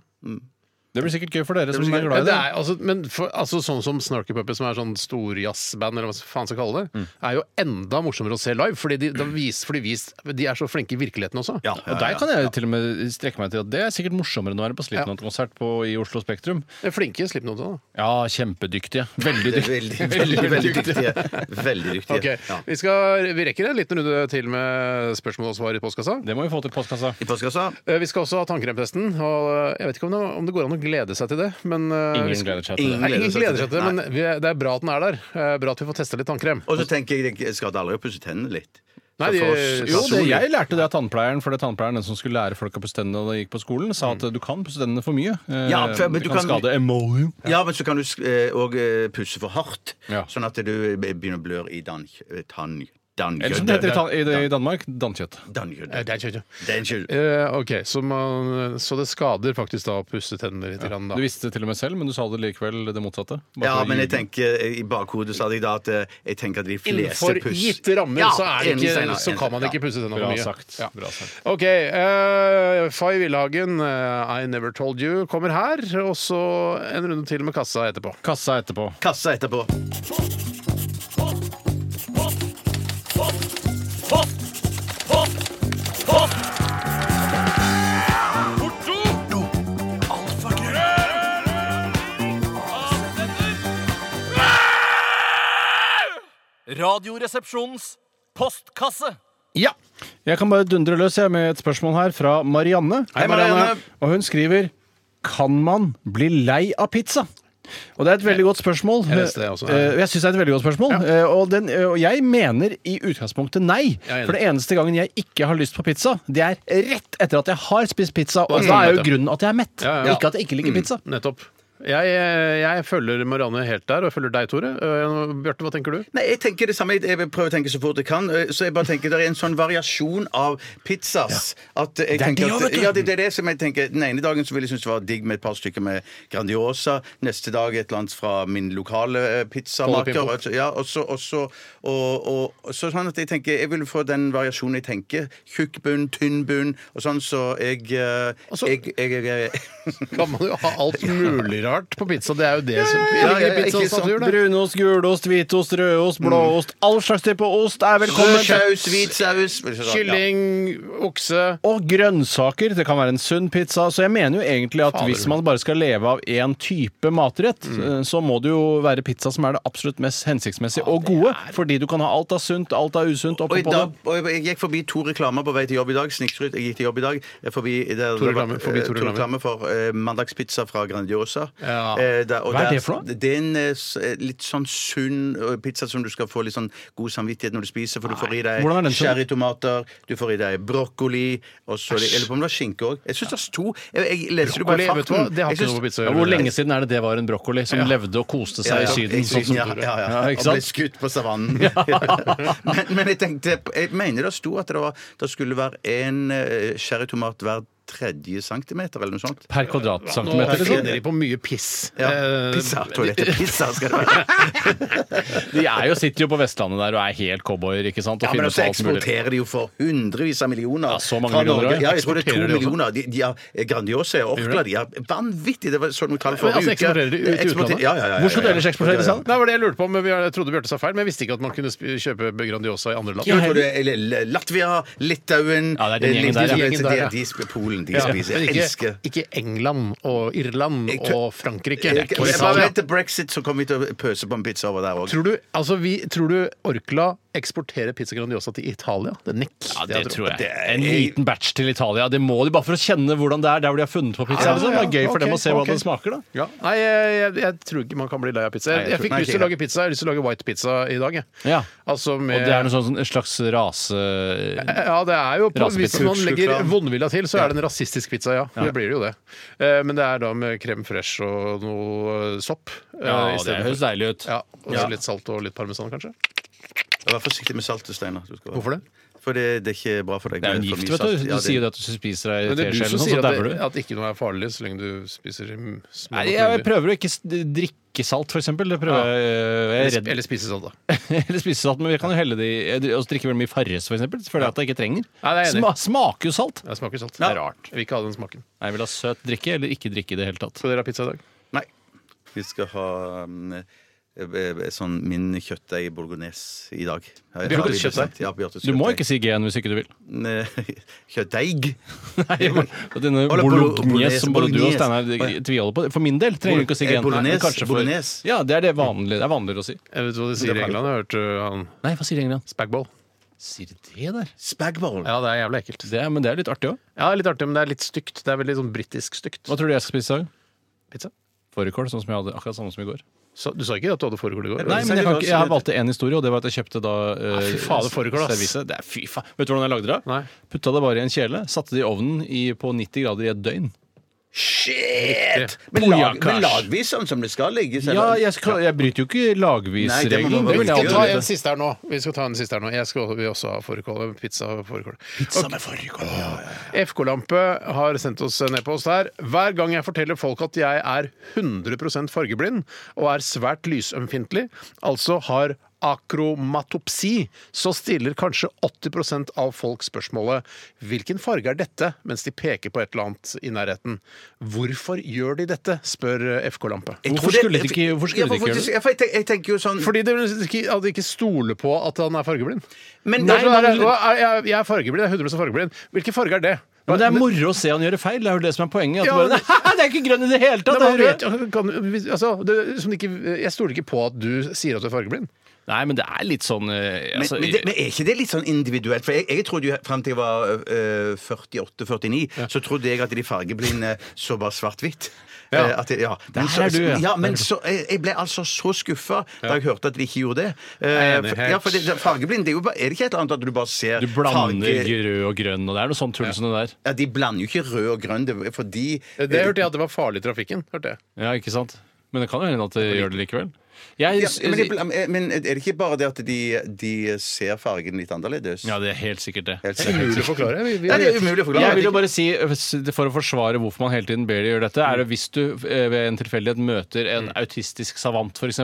Det blir sikkert gøy for dere som blir sikkert- er Ja, glad i det det. er, altså, men for, altså, sånn som Snarky Puppy, som er sånn storjazzband, eller hva faen skal kalle det, er jo enda morsommere å se live, fordi de, de, vis, fordi vis, de er så flinke i virkeligheten også. Ja, Og der kan jeg til og med strekke meg til at det er sikkert morsommere enn å være på Slipknot-konsert på- i Oslo Spektrum. De er Flinke Slipknot òg, da. Ja, kjempedyktige. Veldig Veldig, dyktige. veldig, veldig, veldig dyktige. Veldig dyktige. Ok, Ja. vi, skal, vi rekker en liten runde til med spørsmål og svar i postkassa. Det må vi få til postkassa. I postkassa Eh, Vi skal også ha tannkremtesten. Og eh, jeg vet ikke om det, om det går an å glede seg til det. Men, eh, vi Ingen skal- gleder seg til det. Nei, ingen gleder seg til det, Nei. men vi, det er bra at den er der. Eh, Bra at vi får testa litt tannkrem. Og så tenker jeg jeg skal aldri pusse tennene litt. Så Nei, de- for oss- Jo, det, personlig- jeg lærte det av tannpleieren, for det er tannpleieren den som skulle lære folk å pusse tennene da de gikk på skolen, sa at du kan pusse tennene for mye. Eh, Mm. Ja, for- men det du kan kan- skade emolium. Ja, men så kan du òg eh, pusse for hardt, Ja. sånn at du begynner å blør i eh, dan- tann... Eller sånn som det heter i, Dannkjøttet. tan i, i Danmark, dannkjøtt. Eh, Dannkjøttet. Det er kjøtt, ja. Det er en kjø- Eh, OK, så, man, så det skader faktisk da å pusse tennene litt. Grann, da. Du visste det til og med selv, men du sa det likevel det motsatte. Bare Ja, for å men jeg ljuge. tenker eh, i bakhodet så hadde jeg da at eh, jeg tenker at de fleste Innenfor puss gitte rammer Ja, så, enig, er det ikke, Steinar, så kan man enig, ikke ja. pusse tennene for Bra mye. sagt. Ja. Bra sagt. OK. eh, Fay Villhagen, eh, 'I Never Told You', kommer her. Og så en runde til med kassa etterpå. Kassa etterpå. Kassa etterpå. Radioresepsjonens postkasse. Ja! Jeg kan bare dundre løs jeg, med et spørsmål her fra Marianne. Hei, Marianne. Og hun skriver Kan man bli lei av pizza? Og det er et veldig godt spørsmål. Jeg leste det også, ja. Eh, Jeg syns det er et veldig godt spørsmål. Eh, Og, den, eh, og jeg mener i utgangspunktet nei. Jeg er enig. For det eneste gangen jeg ikke har lyst på pizza, det er rett etter at jeg har spist pizza. Og er da mett, er jo ja. grunnen at jeg er mett. Ja, ja. Ikke at jeg ikke liker pizza. Nettopp. Jeg, eh, jeg følger Marianne helt der, og jeg følger deg, Tore. Eh, Bjarte, hva tenker du? Nei, jeg tenker det samme. Jeg prøver å tenke så fort jeg kan. Eh, Så jeg bare tenker Det er en sånn variasjon av pizzas. At jeg Det er tenker det også, vet at, du. ja, det, det er det som jeg tenker Den ene dagen så vil jeg synes det var digg med et par stykker med Grandiosa. Neste dag et eller annet fra min lokale eh, pizzamaker. Pimpo. Og så- Ja, og så, og så, og, og, og så sånn at jeg tenker Jeg vil få den variasjonen jeg tenker. Tjukk bunn, tynn bunn og sånn, så jeg eh, Altså- jeg, jeg, jeg, eh, Kan man jo ha alt mulig rart på pizza. Det er jo det som ja, ja, ligger i pizzaens ikke sant. natur, det. Brunost, gulost, hvitost, rødost, blåost. All slags type ost er velkommen. Rød saus, hvit saus ja. Kylling, okse Og grønnsaker. Det kan være en sunn pizza. Så jeg mener jo egentlig at Fader, hvis man bare skal leve av én type matrett, eh, så må det jo være pizza som er det absolutt mest hensiktsmessige og gode. Fordi du kan ha alt av sunt, alt av usunt oppå Og, i på dag, det. og jeg gikk forbi to reklamer på vei til jobb i dag. Snikskryt. Jeg gikk til jobb i dag. Jeg Forbi, der, To reklamer, forbi to eh, reklamer. for eh, mandagspizza fra Grandiosa. Ja. Eh, der- og Hva er der- det for noe? Det er en eh, s- eh, litt sånn sunn eh, pizza som du skal få litt sånn god samvittighet når du spiser, for du får i deg Hvordan er den sånn? cherrytomater, du får i deg brokkoli og så Jeg lurer på om det var skinke òg. Jeg syns det sto Jeg, jeg leser det bare i Brokkoli, vet du hva? farten. Det har Jeg ikke synes- noe på pizza å Ja, gjøre. hvor lenge siden er det det var en brokkoli som levde og koste seg i Syden? sånn som ja, Tore? ja, ja. Ja, Og ikke ble sant? skutt på savannen. men, men jeg tenkte Jeg mener det sto at det, var, det skulle være en eh, cherrytomat hver tredje centimeter, eller noe sånt. Per Nå kvadratcentimeter, liksom. finner de på mye piss. Ja. Eh, Pizza. Toalettet pizza skal det være. De er jo, sitter jo på Vestlandet der og er helt cowboyer, ikke sant? Og Ja, men altså, finner også på alt mulig. eksporterer de jo for hundrevis av millioner. Ja, så mange fra millioner, Norge. ja. Ja, jeg tror det er Eksporterer to de også? millioner. De, de har eh, Grandiosa og Orkla. De har vanvittig Det var sånn noe tall Men forrige altså, eksporterer de ut i Eksporter- utlandet? Ja, ja, ja, ja, ja. Hvor skulle du ellers eksportere det? sant? Det var det jeg lurte på, men vi- jeg trodde Bjarte sa feil. Men jeg visste ikke at man kunne sp- kjøpe Grandiosa i andre land. Jo, jeg tror det er- eller Latvia, Litauen Ja, det er den gjengen der, ja. Litauen, Gjengen der, ja. de- de sp- Polen, de Ja, spiser. men Jeg elsker ikke, ikke England og Irland Jeg tror- og Frankrike. Jeg, Og jeg Italia. bare vet til brexit, så kommer vi til å pøse på en pizza over der òg. Tror du, altså vi, tror du Orkla eksporterer pizza Grandiosa til Italia? Det nekter Ja, det tror jeg. det er- En liten batch til Italia. Det må de bare for å kjenne hvordan det er der hvor de har funnet på pizza. Ja, Liksom. Det ja, er gøy for ok, dem å se ok. hvordan det smaker, da. Ja. Nei, jeg, jeg, jeg tror ikke man kan bli lei av pizza. Jeg, Nei, jeg jeg fikk tror- lyst Nei, til å ikke lage pizza. Jeg har lyst til å lage white pizza i dag, jeg. Ja. Altså med Og det er noe sånn, en slags rase... ja, det er jo på, Hvis Rasepizza. man legger Sjukkran. vondvilja til, så er det en rasistisk pizza, ja. Det blir det jo det. Eh, Men det er da med krem fresh og noe eh, sopp. eh, Ja, i det stedet høres for- deilig ut. Ja, og Ja. så litt salt og litt parmesan, kanskje. Vær forsiktig med saltet, Steinar. Du skal- Hvorfor det? For det, det er ikke bra for deg. Det er jo en for gift, mye vet du. salt. Du Ja, sier jo det at du spiser deg i Men det er du teskje, eller som noe sånt, sier så at, dauer det, du. at ikke noe er farlig så lenge du spiser mm, små Nei, nok jeg mengder. prøver å ikke s- drikke salt, for eksempel. Det prøver jeg. Jeg er Eller- redd Eller spise salt, da. Eller spise salt, men vi kan jo helle det i jeg dri- Og drikke veldig mye Farris, for eksempel. Føler jeg at jeg ikke Nei, trenger. det er jeg enig i. Sma, smaker jo salt. Jeg smaker salt. Det er rart. Jeg vil ikke ha den smaken. Nei, Jeg vil ha søt drikke, eller ikke drikke i det hele tatt. Skal dere ha pizza i dag? Nei. Vi skal ha um, eh, eh, sånn min kjøttdeig bolognese i dag. Ja, jeg- Bjørtes ja, vi- kjøttdeig? Ja, Bjørtes Du må kjøttdeig. ikke si G-en hvis ikke du vil. Nei, Kjøttdeig? Nei, men Denne Eller bolo- bolognese som både du og bolognese. Steinar tviholder på. For min del trenger du ikke å si Eh, G-en. bolognese, Men kanskje for- bolognese. Ja, det er det vanlige. Det er vanligere å si. Jeg vet hva de sier i England. Jeg hørte han Nei, hva sier England? Spagball. Sier de det der? Spagbowl. Ja, det er jævlig ekkelt. Det, er- men det er litt artig òg. Ja, litt artig, men det er litt stygt. Det er veldig sånn britisk stygt. Hva tror du jeg skal spise i dag? Pizza? Fårikål, sånn som jeg hadde akkurat samme som i går. Så, du sa ikke at du hadde fårikål i går? Nei, men jeg, kan ikke, jeg har valgte én historie, og det var at jeg kjøpte da eh, fy faen, det foregår, ass. servise. Det er fy faen. Vet du hvordan jeg lagde det? Nei. Putta det bare i en kjele, satte det i ovnen i, på 90 grader i et døgn. Shit! Men, Booyah, lag, men Kars. lager vi sånn som det skal ligges? Ja, eller? jeg, skal, jeg bryter jo ikke Nei, det må man vel lagvisregelen. Det vil Vi jeg skal ta aldri en vite. siste her nå. Vi skal ta en siste her nå. Jeg skal vi også ha fårikål. Pizza og fårikål. Pizza med fårikål. FK-lampe har sendt oss en e-post her. Hver gang jeg forteller folk at jeg er 100 fargeblind og er svært lysømfintlig, altså har akromatopsi, så stiller kanskje 80 av folk spørsmålet 'Hvilken farge er dette?' mens de peker på et eller annet i nærheten. Hvorfor gjør de dette? spør eh, FK-lampe. Jeg Hvorfor tror skulle de ikke- hvorfor Ja, skulle de ikke for- gjøre det? ja, for jeg tenker- Jeg tenker jo sånn Fordi de ikke, at de ikke stoler på at han er fargeblind. Men- Det er sånn Nei, der, men- «Å, jeg, jeg er fargeblind, jeg er 100 fargeblind. Hvilken farge er det? Men det er moro å se han gjøre feil. Det er jo det som er poenget. At Ja, du bare, Nei, det er ikke grønn i det hele tatt! Nei, men det er han vet jo- kan, hvis- altså, det, som det ikke, jeg stoler ikke på at du sier at du er fargeblind. Nei, men det er litt sånn eh, Men, altså, men, det, men er ikke det litt sånn individuelt? For jeg, jeg trodde jo Frem til jeg var øh, 48-49, så trodde jeg at de fargeblinde så bare svart-hvitt. Ja. Eh, at det- ja. Men, Der så, er du, ja. ja, men så, jeg, jeg ble altså så skuffa da jeg hørte at de ikke gjorde det. Eh, Jeg er enig, for, helt. ja, for det, fargeblind det er, jo bare, er det ikke et eller annet at du bare ser Du blander farge- rød og grønn, og det er noe sånn tull som det der. ja, De blander jo ikke rød og grønn, det, er fordi Det hørte jeg at det var farlig i trafikken. hørte jeg. Ja, ikke sant? Men det kan jo hende at det gjør det likevel. Jeg, ja, men, de, bla- men er det ikke bare det at de, de ser fargen litt annerledes? ja, det er helt sikkert det. Helt Det er sikkert. umulig å forklare. Vi, vi, Ja, det er umulig å forklare. Jeg vil jo bare si, eh, For å forsvare hvorfor man hele tiden ber de gjøre dette, er det hvis du eh, ved en tilfeldighet møter en Mm. autistisk savant, f.eks.,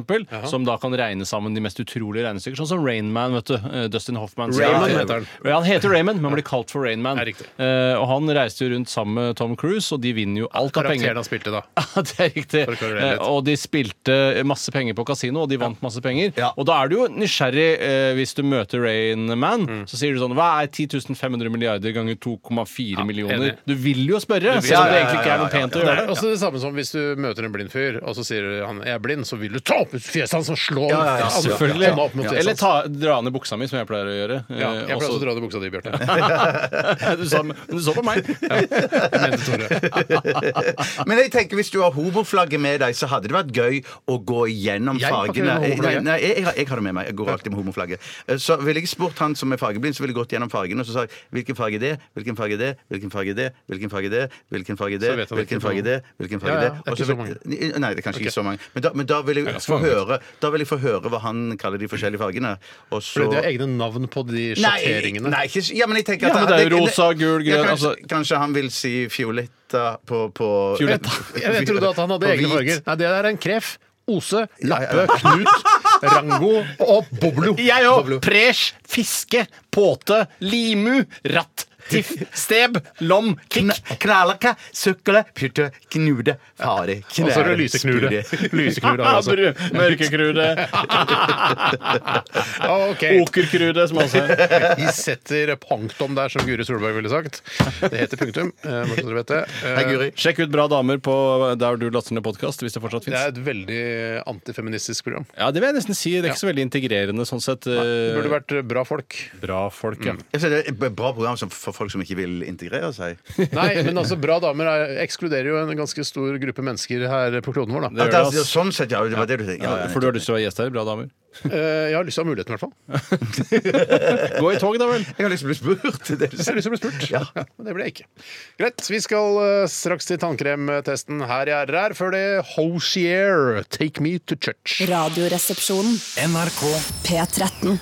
som da kan regne sammen de mest utrolige regnestykker, sånn som Rainman, vet du. eh, Dustin Hoffman. sier Raymond at- heter han. Ja, han heter Raymond, men blir kalt for Rainman. Eh, Ja, riktig. og han reiste jo rundt sammen med Tom Cruise, og de vinner jo alt av penger. Karakteren han spilte da. Ja, det er riktig. For å klarere litt. Eh, Og de spilte masse penger på kasino, og de vant masse penger. Ja. Og da er du jo nysgjerrig eh, hvis du møter Rain Man. Så sier du sånn Hva er 10 500 milliarder ganger 2,4 millioner? enig. Du vil jo spørre, vil- selv om Ja, det ja, egentlig ikke ja, er noe ja, ja. pent å Det gjøre. er også det samme som hvis du møter en blind fyr, og så sier han 'jeg er blind', så vil du ta opp fjeset hans og slå Ja, ja, ja, ham. Selvfølgelig. Hånda opp mot fjeset Eller hans. ta, dra ned buksa mi, som jeg pleier å gjøre. Eh, Ja, jeg pleier også å dra det i buksa di, Bjarte. du, sa, men du så på meg. Jeg mente Tore. Men jeg tenker hvis du har homoflagget med deg, så hadde det vært gøy å gå gjennom Jeg har fargene. ikke det med Nei, homoflagget. nei, jeg, har- jeg har det med meg. Jeg går alltid med homoflagget. Eh, Så ville jeg spurt han som er fargeblind, så ville jeg gått gjennom fargene og så sa jeg, hvilken farge er det, hvilken farge er det, hvilken farge er det, hvilken farge er det, hvilken farge er Så det, vet han hvilken ikke farge er det, hvilken farge Ja, er ja, det. det er Og så ikke så vil- Nei, det er kanskje ikke så mange. Men da, men da vil jeg ganske få mange. høre Da vil jeg få høre hva han kaller de forskjellige fargene. Og så Fordi de har egne navn på Nei, de sjatteringene. nei ikke, ja, men jeg tenker Ja, at men det er jo rosa, gul, grønn, kanskje, altså- kanskje han vil si fioletta på, på Fioletta. Jeg, jeg trodde at han hadde På egne hvit. farger. Nei, det der er en kref. Ose, Lappe, Knut, Rango og Boblo. Jeg òg. Boblo. Presj, fiske, påte, limu, ratt, tiff, steb, lom, kikk. Kn- Knallaka, sukle, pytte, knude, fare, knære, Og så er det lyseknude. spure. Lyseknude har vi altså. Mørkekrude. Ok. Okerkrude, som også Vi setter punktum der, som Guri Solberg ville sagt. Det heter punktum. eh, Bare så dere vet det. Eh, Hei, Guri. Sjekk ut Bra damer på der du laster ned podkast, hvis det fortsatt Det fins. er et veldig antifeministisk program. Ja, det vil jeg nesten si. Det er ikke så veldig integrerende sånn sett. Det burde vært bra folk. Bra folk, ja. Jeg synes Det er et b- bra program som- for folk som ikke vil integrere seg. Nei, men altså, Bra damer er, ekskluderer jo en ganske stor gruppe mennesker her på kloden vår, da. At Det gjør det er, det, ass. sånn sett, ja. Det var det du tenkte. Ja, ja, For du har lyst til å være gjest her? Bra damer. Eh, Jeg har lyst til å ha muligheten, i hvert fall. Gå i tog, da vel. Jeg har lyst til å bli spurt. Det er det Jeg har lyst til å bli spurt. Ja. men det ble jeg ikke. Greit, vi skal eh, straks til tannkremtesten her i RR. Før det, Hosier, Take Me to Church. Radioresepsjonen. NRK P13.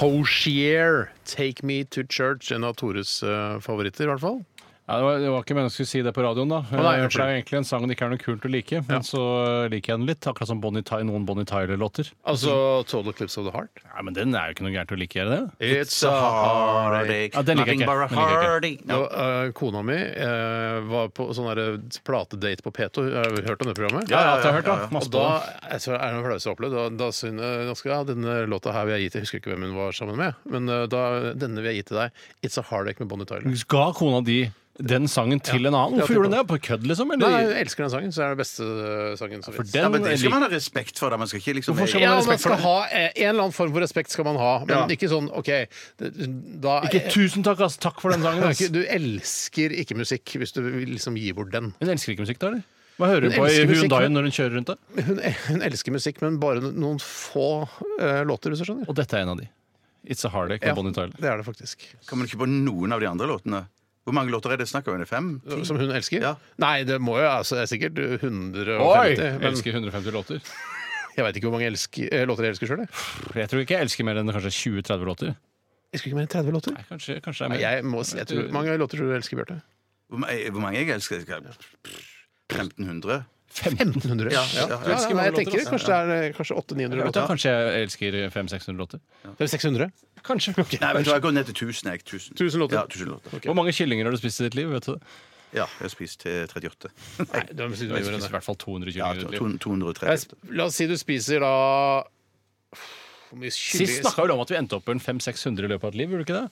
Hosier, Take Me to Church. En av Tores eh, favoritter, i hvert fall. Ja, det, var, det var ikke meningen jeg skulle si det på radioen, da. nei, Eh, for det unnskyld. er jo egentlig en sang det ikke er noe kult å like, men så eh, liker jeg den litt. Akkurat som Bonnie Ty, noen Bonnie Tyler-låter. Altså Total Eclipse of the Heart. Ja, men den er jo ikke noe gærent å like, er det det? It's a heartache. Ja, den liker Nothing jeg ikke. but a Den liker jeg ikke. heartache. Og, eh, kona mi eh, var på sånn derre platedate på P2. Har du hørt om det programmet? Ja, ja, det har jeg hørt, da. Masse Og da jeg tror det er det noe flaueste å oppleve. Da, da synes jeg ganske, ja, denne låta her vil jeg gi til Jeg husker ikke hvem hun var sammen med, men eh, da, denne vil jeg gi til deg. It's a heartache med Bonnie Tyler. på det. Ga kona di den sangen til en annen? Hvorfor Ja, gjorde hun det? På kødd, liksom? Nei, Eller? jeg elsker den sangen, så er det den beste eh, sangen som for finnes. Ja, den men det skal lik- man ha respekt for. Da. Man skal ikke liksom Hvorfor skal Ja, man ha man respekt skal for det? ha eh, En eller annen form for respekt skal man ha, men Ja. ikke sånn OK det- da, Ikke tusen takk, ass. Takk for den sangen. Du er Ass. ikke- Du elsker ikke musikk hvis du vil liksom gir bort den. Hun elsker ikke musikk, da, eller? Hva hører Hun hun på i elsker musikk, Hyundaien men- når hun kjører rundt? da? Hun, hun elsker musikk, men bare noen få eh, låter, hvis du skjønner. Og dette er en av de. It's a Heartache med Ja, Bonnie Tyler. det er det faktisk. Kommer du ikke på noen av de andre låtene? Hvor mange låter er det snakk om? Er det Fem? Som hun elsker? Ja. Nei, det må jo altså, det er sikkert 150. Jeg men elsker 150 låter. jeg veit ikke hvor mange elsker, eh, låter jeg elsker sjøl. Jeg. Jeg tror ikke jeg elsker mer enn kanskje 20-30 låter. jeg elsker ikke mer enn 30 låter. Nei, kanskje, kanskje det er Nei, mer. jeg må, si- jeg tror, mange låter tror du elsker, Bjarte. Hvor ma- eh, Hvor mange jeg elsker? Skal jeg- 1500? 1500. Ja, ja, ja, elsker nei, jeg mange tenker låter, kanskje det er eh, kanskje 800-900 Jeg vet da, låter. kanskje jeg elsker 500-600 låter. Det er 600. Kanskje. Nei, vet du, hva, jeg går ned til 1000. Jeg. 1000. Tusen låter. Ja, 1000 låter. Hvor mange kyllinger har du spist i ditt liv? vet du? ja, jeg har spist eh, 38. Nei, du har du har gjort Jeg spiser det. i hvert fall 200 Ja, kyllinger i ditt liv. 238. Jeg sp- La oss si du spiser da Hvor mye Sist kylling snakka vi om at vi endte opp på en 500-600 i løpet av et liv. gjorde du ikke det?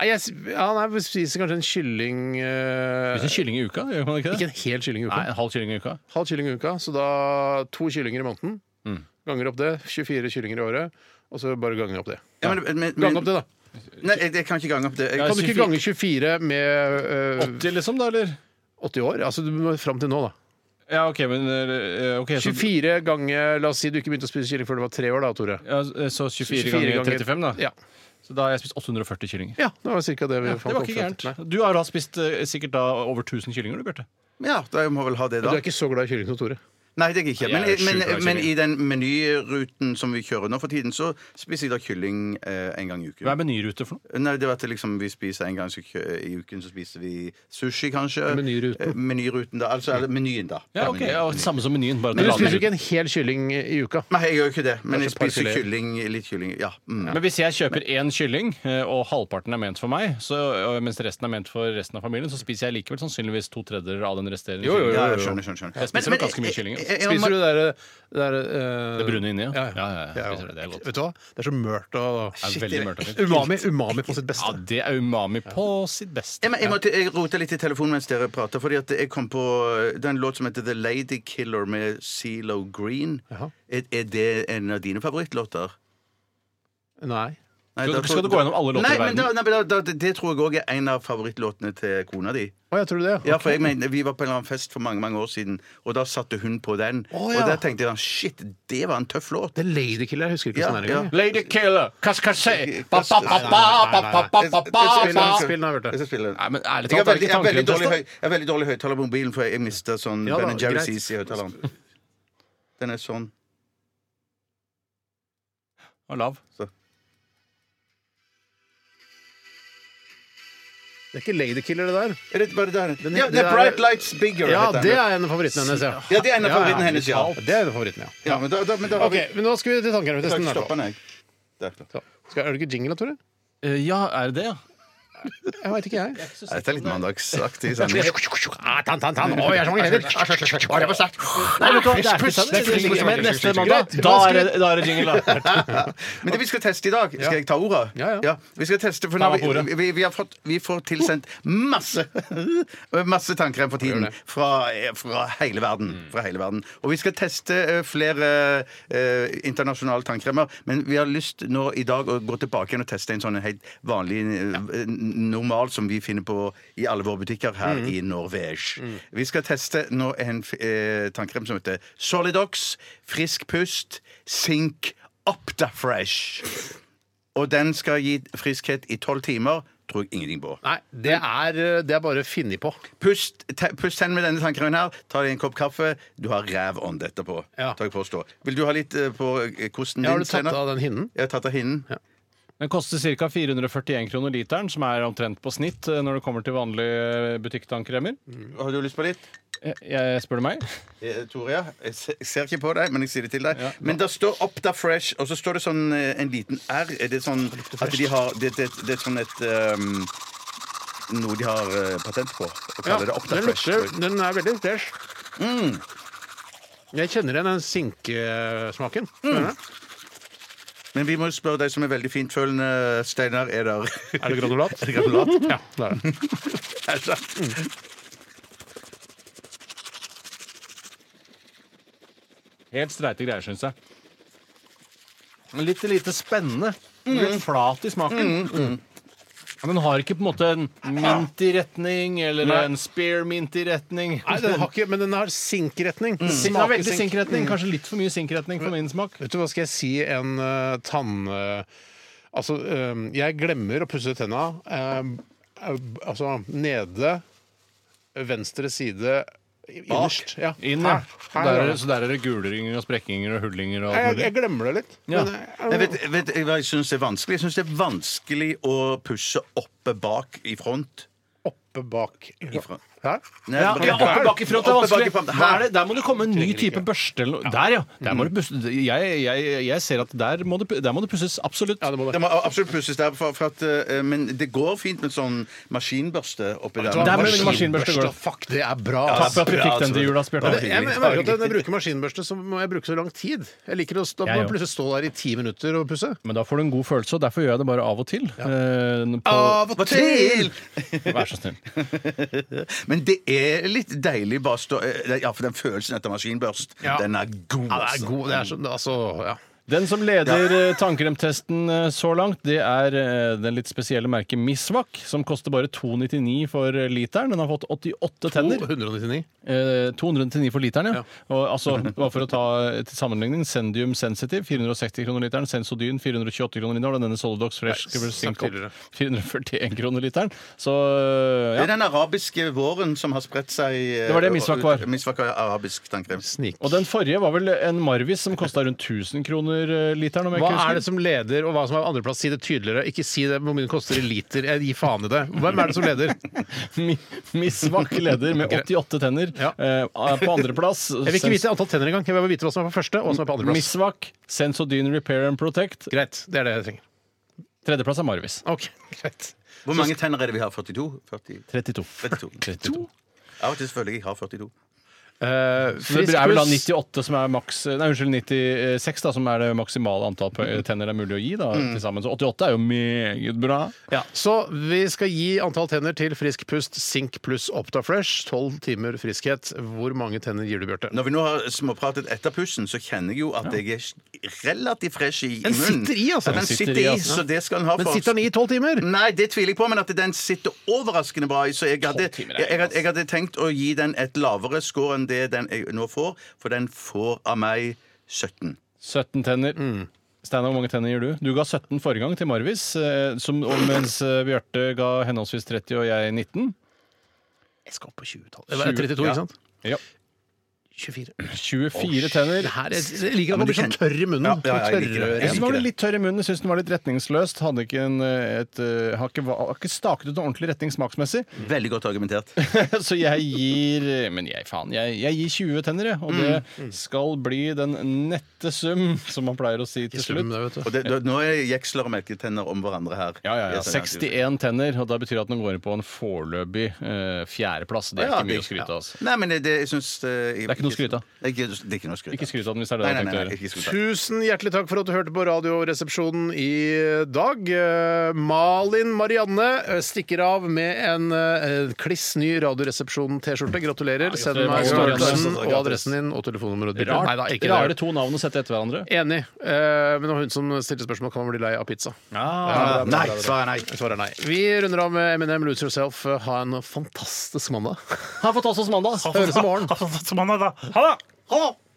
Nei, jeg sp- ja, nei, vi spiser kanskje en kylling eh, Spiser kylling i uka, gjør man ikke Ikke det? en hel kylling i uka. Nei, en halv kylling i uka. Halv kylling i uka, så da to kyllinger i måneden. Ganger opp det. 24 kyllinger i året. Og så bare ganger opp det. Ja, men- men- men- Gang opp det, da. Nei, jeg, jeg kan ikke gange opp det. Jeg, Kan du ikke 24? gange 24 med øh, 80, liksom, da, eller? 80 år? Altså du må fram til nå, da. Ja, OK, men eh, ok, så, 24 ganger La oss si du ikke begynte å spise kylling før du var tre år, da, Tore. ja, eh, så 24 ganger 35, da. Ja. Så da har jeg spist 840 kyllinger. ja. Det var cirka det vi Det fant var opp ikke frem gærent. til. Nei. Du har da spist eh, sikkert da over 1000 kyllinger, du, Bjarte. ja, da må jeg vel ha det, Du da. er ikke så glad i kylling som Tore. Nei, det er jeg ikke. Men, Jeg er sjuk men, av kylling. men i den menyruten som vi kjører nå for tiden, så spiser jeg da kylling eh, en gang i uken. Hva er menyrute for noe? Nei, det var at det liksom vi spiser en gang så kjø- i uken, så spiser vi sushi, kanskje. Menyruten. Eh, Menyruten, da. Altså eller menyen, da. Ja, ok, menyen. ja, Samme som menyen, bare at Men du du lager spiser jo ikke den. en hel kylling i uka. Nei, jeg gjør jo ikke det. Men jeg Kanskje et par spiser fileter. kylling, litt kylling. Ja. Mm. Men hvis jeg kjøper én kylling, eh, og halvparten er ment for meg, så, og mens resten er ment for resten av familien, så spiser jeg likevel sannsynligvis to tredjedeler av den resterende. Jo, jo, jo. Ja, jeg skjønner, skjønner, skjønner. Jeg spiser nok ganske mye kylling, altså. Spiser du det der, det der øh, Det brune inni, ja. Ja, Ja, ja, ja, Det er jo- spiser det, det er godt. Vet du hva? Det er så mørkt og Det er veldig mørkt og fint. Umami, umami på sitt Ja, beste. det er umami på sitt beste. Jeg, må- jeg, måtte, jeg rota litt i telefonen mens dere prater, fordi at jeg kom på Det er en låt som heter The Lady Killer med CeeLo Green. Jaha. Er, er det en av dine favorittlåter? Nei. Nei, Skal- da tror- skal du gå gjennom alle låter nei, i verden? Men da, nei, men da, da, det tror jeg òg er en av favorittlåtene til kona di. Å, jeg tror det. ja. Ja, for jeg mener, Vi var på en eller annen fest for mange mange år siden, og da satte hun på den. Å, ja. Og da tenkte jeg shit, det var en tøff låt. Det er Ladykiller. Jeg husker ikke Ja, sånn ja. engang. Lady killer, kaskasé Spill den, Jeg- spill den, Bjarte. Jeg skal spille den. Nei, men Jeg har ærlig talt, er det veldig, jeg ikke har veldig dårlig, tankeløst? høy, jeg har veldig dårlig høyttaler på mobilen, for jeg mista sånn Ja da, Ben greit. Jerry's i høyttaleren. Den er sånn. da? Og lav. Det er ikke Ladykiller, det der. Er det bare der? Den- ja, det det er er- Bright Lights Bigger. Ja, heter den. det er en av favorittene hennes, ja. Ja, det er en av favorittene hennes, ja. Det er en av favorittene, ja. ja, men da, da, men da har Ok, men nå skal vi til vi da har jeg tankeretesten. ikke stoppet den, jeg. Der, da. Skal, er det ikke jingle, da, Tore? Eh, Ja, er det det, ja? Jeg veit ikke, jeg. Nei, Dette er litt mandagsaktig. Sånn. Jeg Ah, tan, tan, tan. Å, jeg er så mange Nei, vet du hva, det er ikke sant. Det er ikke sant. Men neste mandag, da er det, da er det jingle, da. Men det vi skal teste i dag Skal jeg ta ordet? Ja, ja. vi skal teste, for Ta nå, meg på ordet. vi, vi, vi, har fått, vi får tilsendt masse Masse tannkrem for tiden. Fra, fra, hele verden, fra hele verden. Og vi skal teste eh, flere eh, internasjonale tannkremer. Men vi har lyst nå i dag å gå tilbake igjen og teste en sånn helt vanlig, eh, n- normal som vi finner på i alle våre butikker her i Norvège. Vi skal teste nå en f- eh, tannkrem som heter Solidox, Frisk pust, Sink Optafresh. Og den skal gi friskhet i tolv timer. Tror jeg ingenting på. Nei, det er, eh, det er bare funnet på. Pust, te, pust tenn med denne tannkremen her. Ta deg en kopp kaffe. Du har ræv ånd etterpå. Ja. Takk for å stå. Vil du ha litt eh, på eh, kosten Ja, har din? du tatt Steinar? av den hinnen? Jeg har tatt av hinnen. Den koster ca. 441 kroner literen, som er omtrent på snitt eh, når det kommer til vanlige butikktannkremer. Har du lyst på litt? Jeg, jeg spør du meg? Eh, Tore, ja. jeg se- jeg ser ikke på deg, men jeg sier det til deg. Men det står Opta Fresh, og så står det sånn eh, en liten R. Er det sånn at de har Det, det, det er sånn et um, Noe de har eh, patent på. Og kaller det Opta den Fresh. tror lukter Mm. jeg. Den er veldig fresh. Jeg kjenner igjen den sinkesmaken. Skjønner du? Men vi må jo spørre deg som er veldig fintfølende, Steinar. Er det Er det granulat? Er det granulat? Ja, det er det. Helt streite greier, syns jeg. Men Litt lite spennende. Mm. Litt flat i smaken. Ja, Den har ikke på en måte en mint i retning eller en spearmint i retning. Nei, den har ikke, men den har sinkretning. Den har veldig Smak- Mm. sinkretning. Kanskje litt for mye sinkretning for min smak. Vet du hva skal jeg si en eh, tann... eh, altså, eh, jeg glemmer å pusse tenna eh, eh, altså nede, venstre side, i- innerst. Ja. Inn, ja. Her, Så her, der, er, ja. så der er det gulringer og sprekkinger og hullinger og sånn- jeg, alt mulig. jeg glemmer det litt. Ja. Men, eh, Jeg vet, vet jeg hva jeg syns er vanskelig? Jeg syns det er vanskelig å pusse oppe bak i front. oppe bak Ifra. Her? Nei, Ja, bak- ja, oppe bak i front er Oppe bak i vanskelig. front. Da er det, der må det komme en ny type børste eller noe. Der, ja. Mm. Der må det pusses. Jeg, jeg, jeg ser at der må det, der må det pusses. Absolutt. Ja, det må det. Det må absolutt pusses der, for, for at, eh, men det går fint med sånn maskinbørste oppi der. Der med Maskin- maskinbørste går det. Fuck, det er bra. Ja, Takk ass. for at vi bra, fikk den Tore. til jul, Asbjørn. Men jeg, jeg merker at når jeg bruker maskinbørste, så må jeg bruke så lang tid. Jeg liker å stå, Jeg må òg. plutselig stå der i ti minutter og pusse. Men da får du en god følelse, og derfor gjør jeg det Ah. bare av og til. Eh, på, Av og til! Til! Vær så snill. Men det er litt deilig bare å stå eh, Ja, for den følelsen etter maskinbørst, Ja. den er god. Ja, det er god, det er sånn, altså, ja. Den som leder eh, tannkremtesten eh, så langt, det er eh, den litt spesielle merket Misvak, som koster bare 2,99 for eh, literen. Den har fått 88 tenner. 199. Eh, 299 for literen, ja. Og, altså, bare for å ta eh, til sammenligning, Sendium Sensitive 460 kroner literen, Sensodyn 428 kroner literen, og denne Solidox Fresh Nei, Cooper Sync snakk Up, tidligere. 441 kroner literen. Så eh, Det ja. er den arabiske våren som har spredt seg eh, Det var det misvak var. Misvak var arabisk tannkrem. Snik. Og den forrige var vel en Marvis som kosta rundt 1000 kroner eh, literen, om jeg Hva ikke husker. er det som leder, og hva som er andreplass? Si det tydeligere. Ikke si det hvor mye det koster i liter. Jeg gir faen i det. Hvem er det som leder? Mi- Miss Wack leder med 88 tenner. Ja. Eh, er på andreplass Jeg vil ikke vite antall tenner engang. Jeg vil bare vite hva som er på første, og hva som er på andreplass. Miss Wack, Sensodyne Repair and Protect. Greit. Det er det jeg trenger. Tredjeplass er Marvis. Ok, greit. Hvor mange tenner er det vi har? 42? 40? 32. 32. 32. Av og til selvfølgelig jeg har 42. Eh, Så det er vel da Friskus. 98 som er maks Nei, unnskyld, 96 da, som er det maksimale antall på- tenner det er mulig å gi da, til sammen. Så 88 er jo meget bra. Ja, så vi skal gi antall tenner til Frisk Pust, Sink pluss Optafresh. Tolv timer friskhet. Hvor mange tenner gir du, Bjarte? Når vi nå har småpratet etter pussen, så kjenner jeg jo at jeg er relativt fresh i, i Den munnen. sitter i, altså. Den sitter i, så det skal den ha Men for. sitter den i i tolv timer? Nei, det tviler jeg på, men at den sitter overraskende bra i. Så jeg hadde, Tolv jeg, timer er jeg, hadde- jeg hadde tenkt å gi den et lavere score enn det den jeg nå får, for den får av meg 17. 17 tenner. Steinar, hvor mange tenner gir du? Du ga 17 forrige gang til Marvis, eh, som, og mens eh, Bjarte ga henholdsvis 30 og jeg 19. Jeg skal opp på 20-tallet. Det var 32, Ja. ikke sant? Ja. 24. 24 tenner. Det her er, jeg liker men at man du blir sånn kjenner- tørr i munnen. Ja, ja, jeg Sånn liker det. tørrere. Jeg syns den var det. litt tørr i munnen, synes den var litt retningsløst. Hadde ikke en, eh, et, eh, har, ikke, har ikke staket ut en ordentlig retning smaksmessig. Veldig godt argumentert. Så jeg gir Men jeg, faen, jeg, jeg gir 20 tenner, jeg. Og det skal bli den nette sum, som man pleier å si til Slum, slutt. det, vet du. Og det, det, nå er jeksler og melketenner om hverandre her. Ja, ja, ja. Det er sånn- 61 tenner, og da betyr det at den går inn på en foreløpig eh, fjerdeplass. Det er Ja, ikke mye det- å skryte av. altså. Nei, men det, det, jeg syns Det er ikke noe å skryte av. Det er ikke, det er ikke noe å skryte av. Ikke skryt av den hvis det er det Nei, du nei, nei, har tenkt å nei, gjøre. ikke skryte av. Tusen hjertelig takk for at du hørte på Radioresepsjonen i dag. Eh, Malin Marianne eh, stikker av med en eh, kliss ny Radioresepsjonen-T-skjorte. Gratulerer. Send meg Marianne. størrelsen Gratulerer. og adressen din og telefonnummeret. ditt. Nei, da, Rart, ikke det. rare to navn å sette etter hverandre. Enig. Eh, Men det var hun som stilte spørsmål kan man bli lei av pizza. Ja, Nei, svaret er nei. Svaret er nei. Vi runder av med Eminem Lose Yourself. Eh, Ha en fantastisk mandag. Ha fantastisk mandag! Høres i morgen. Ha det!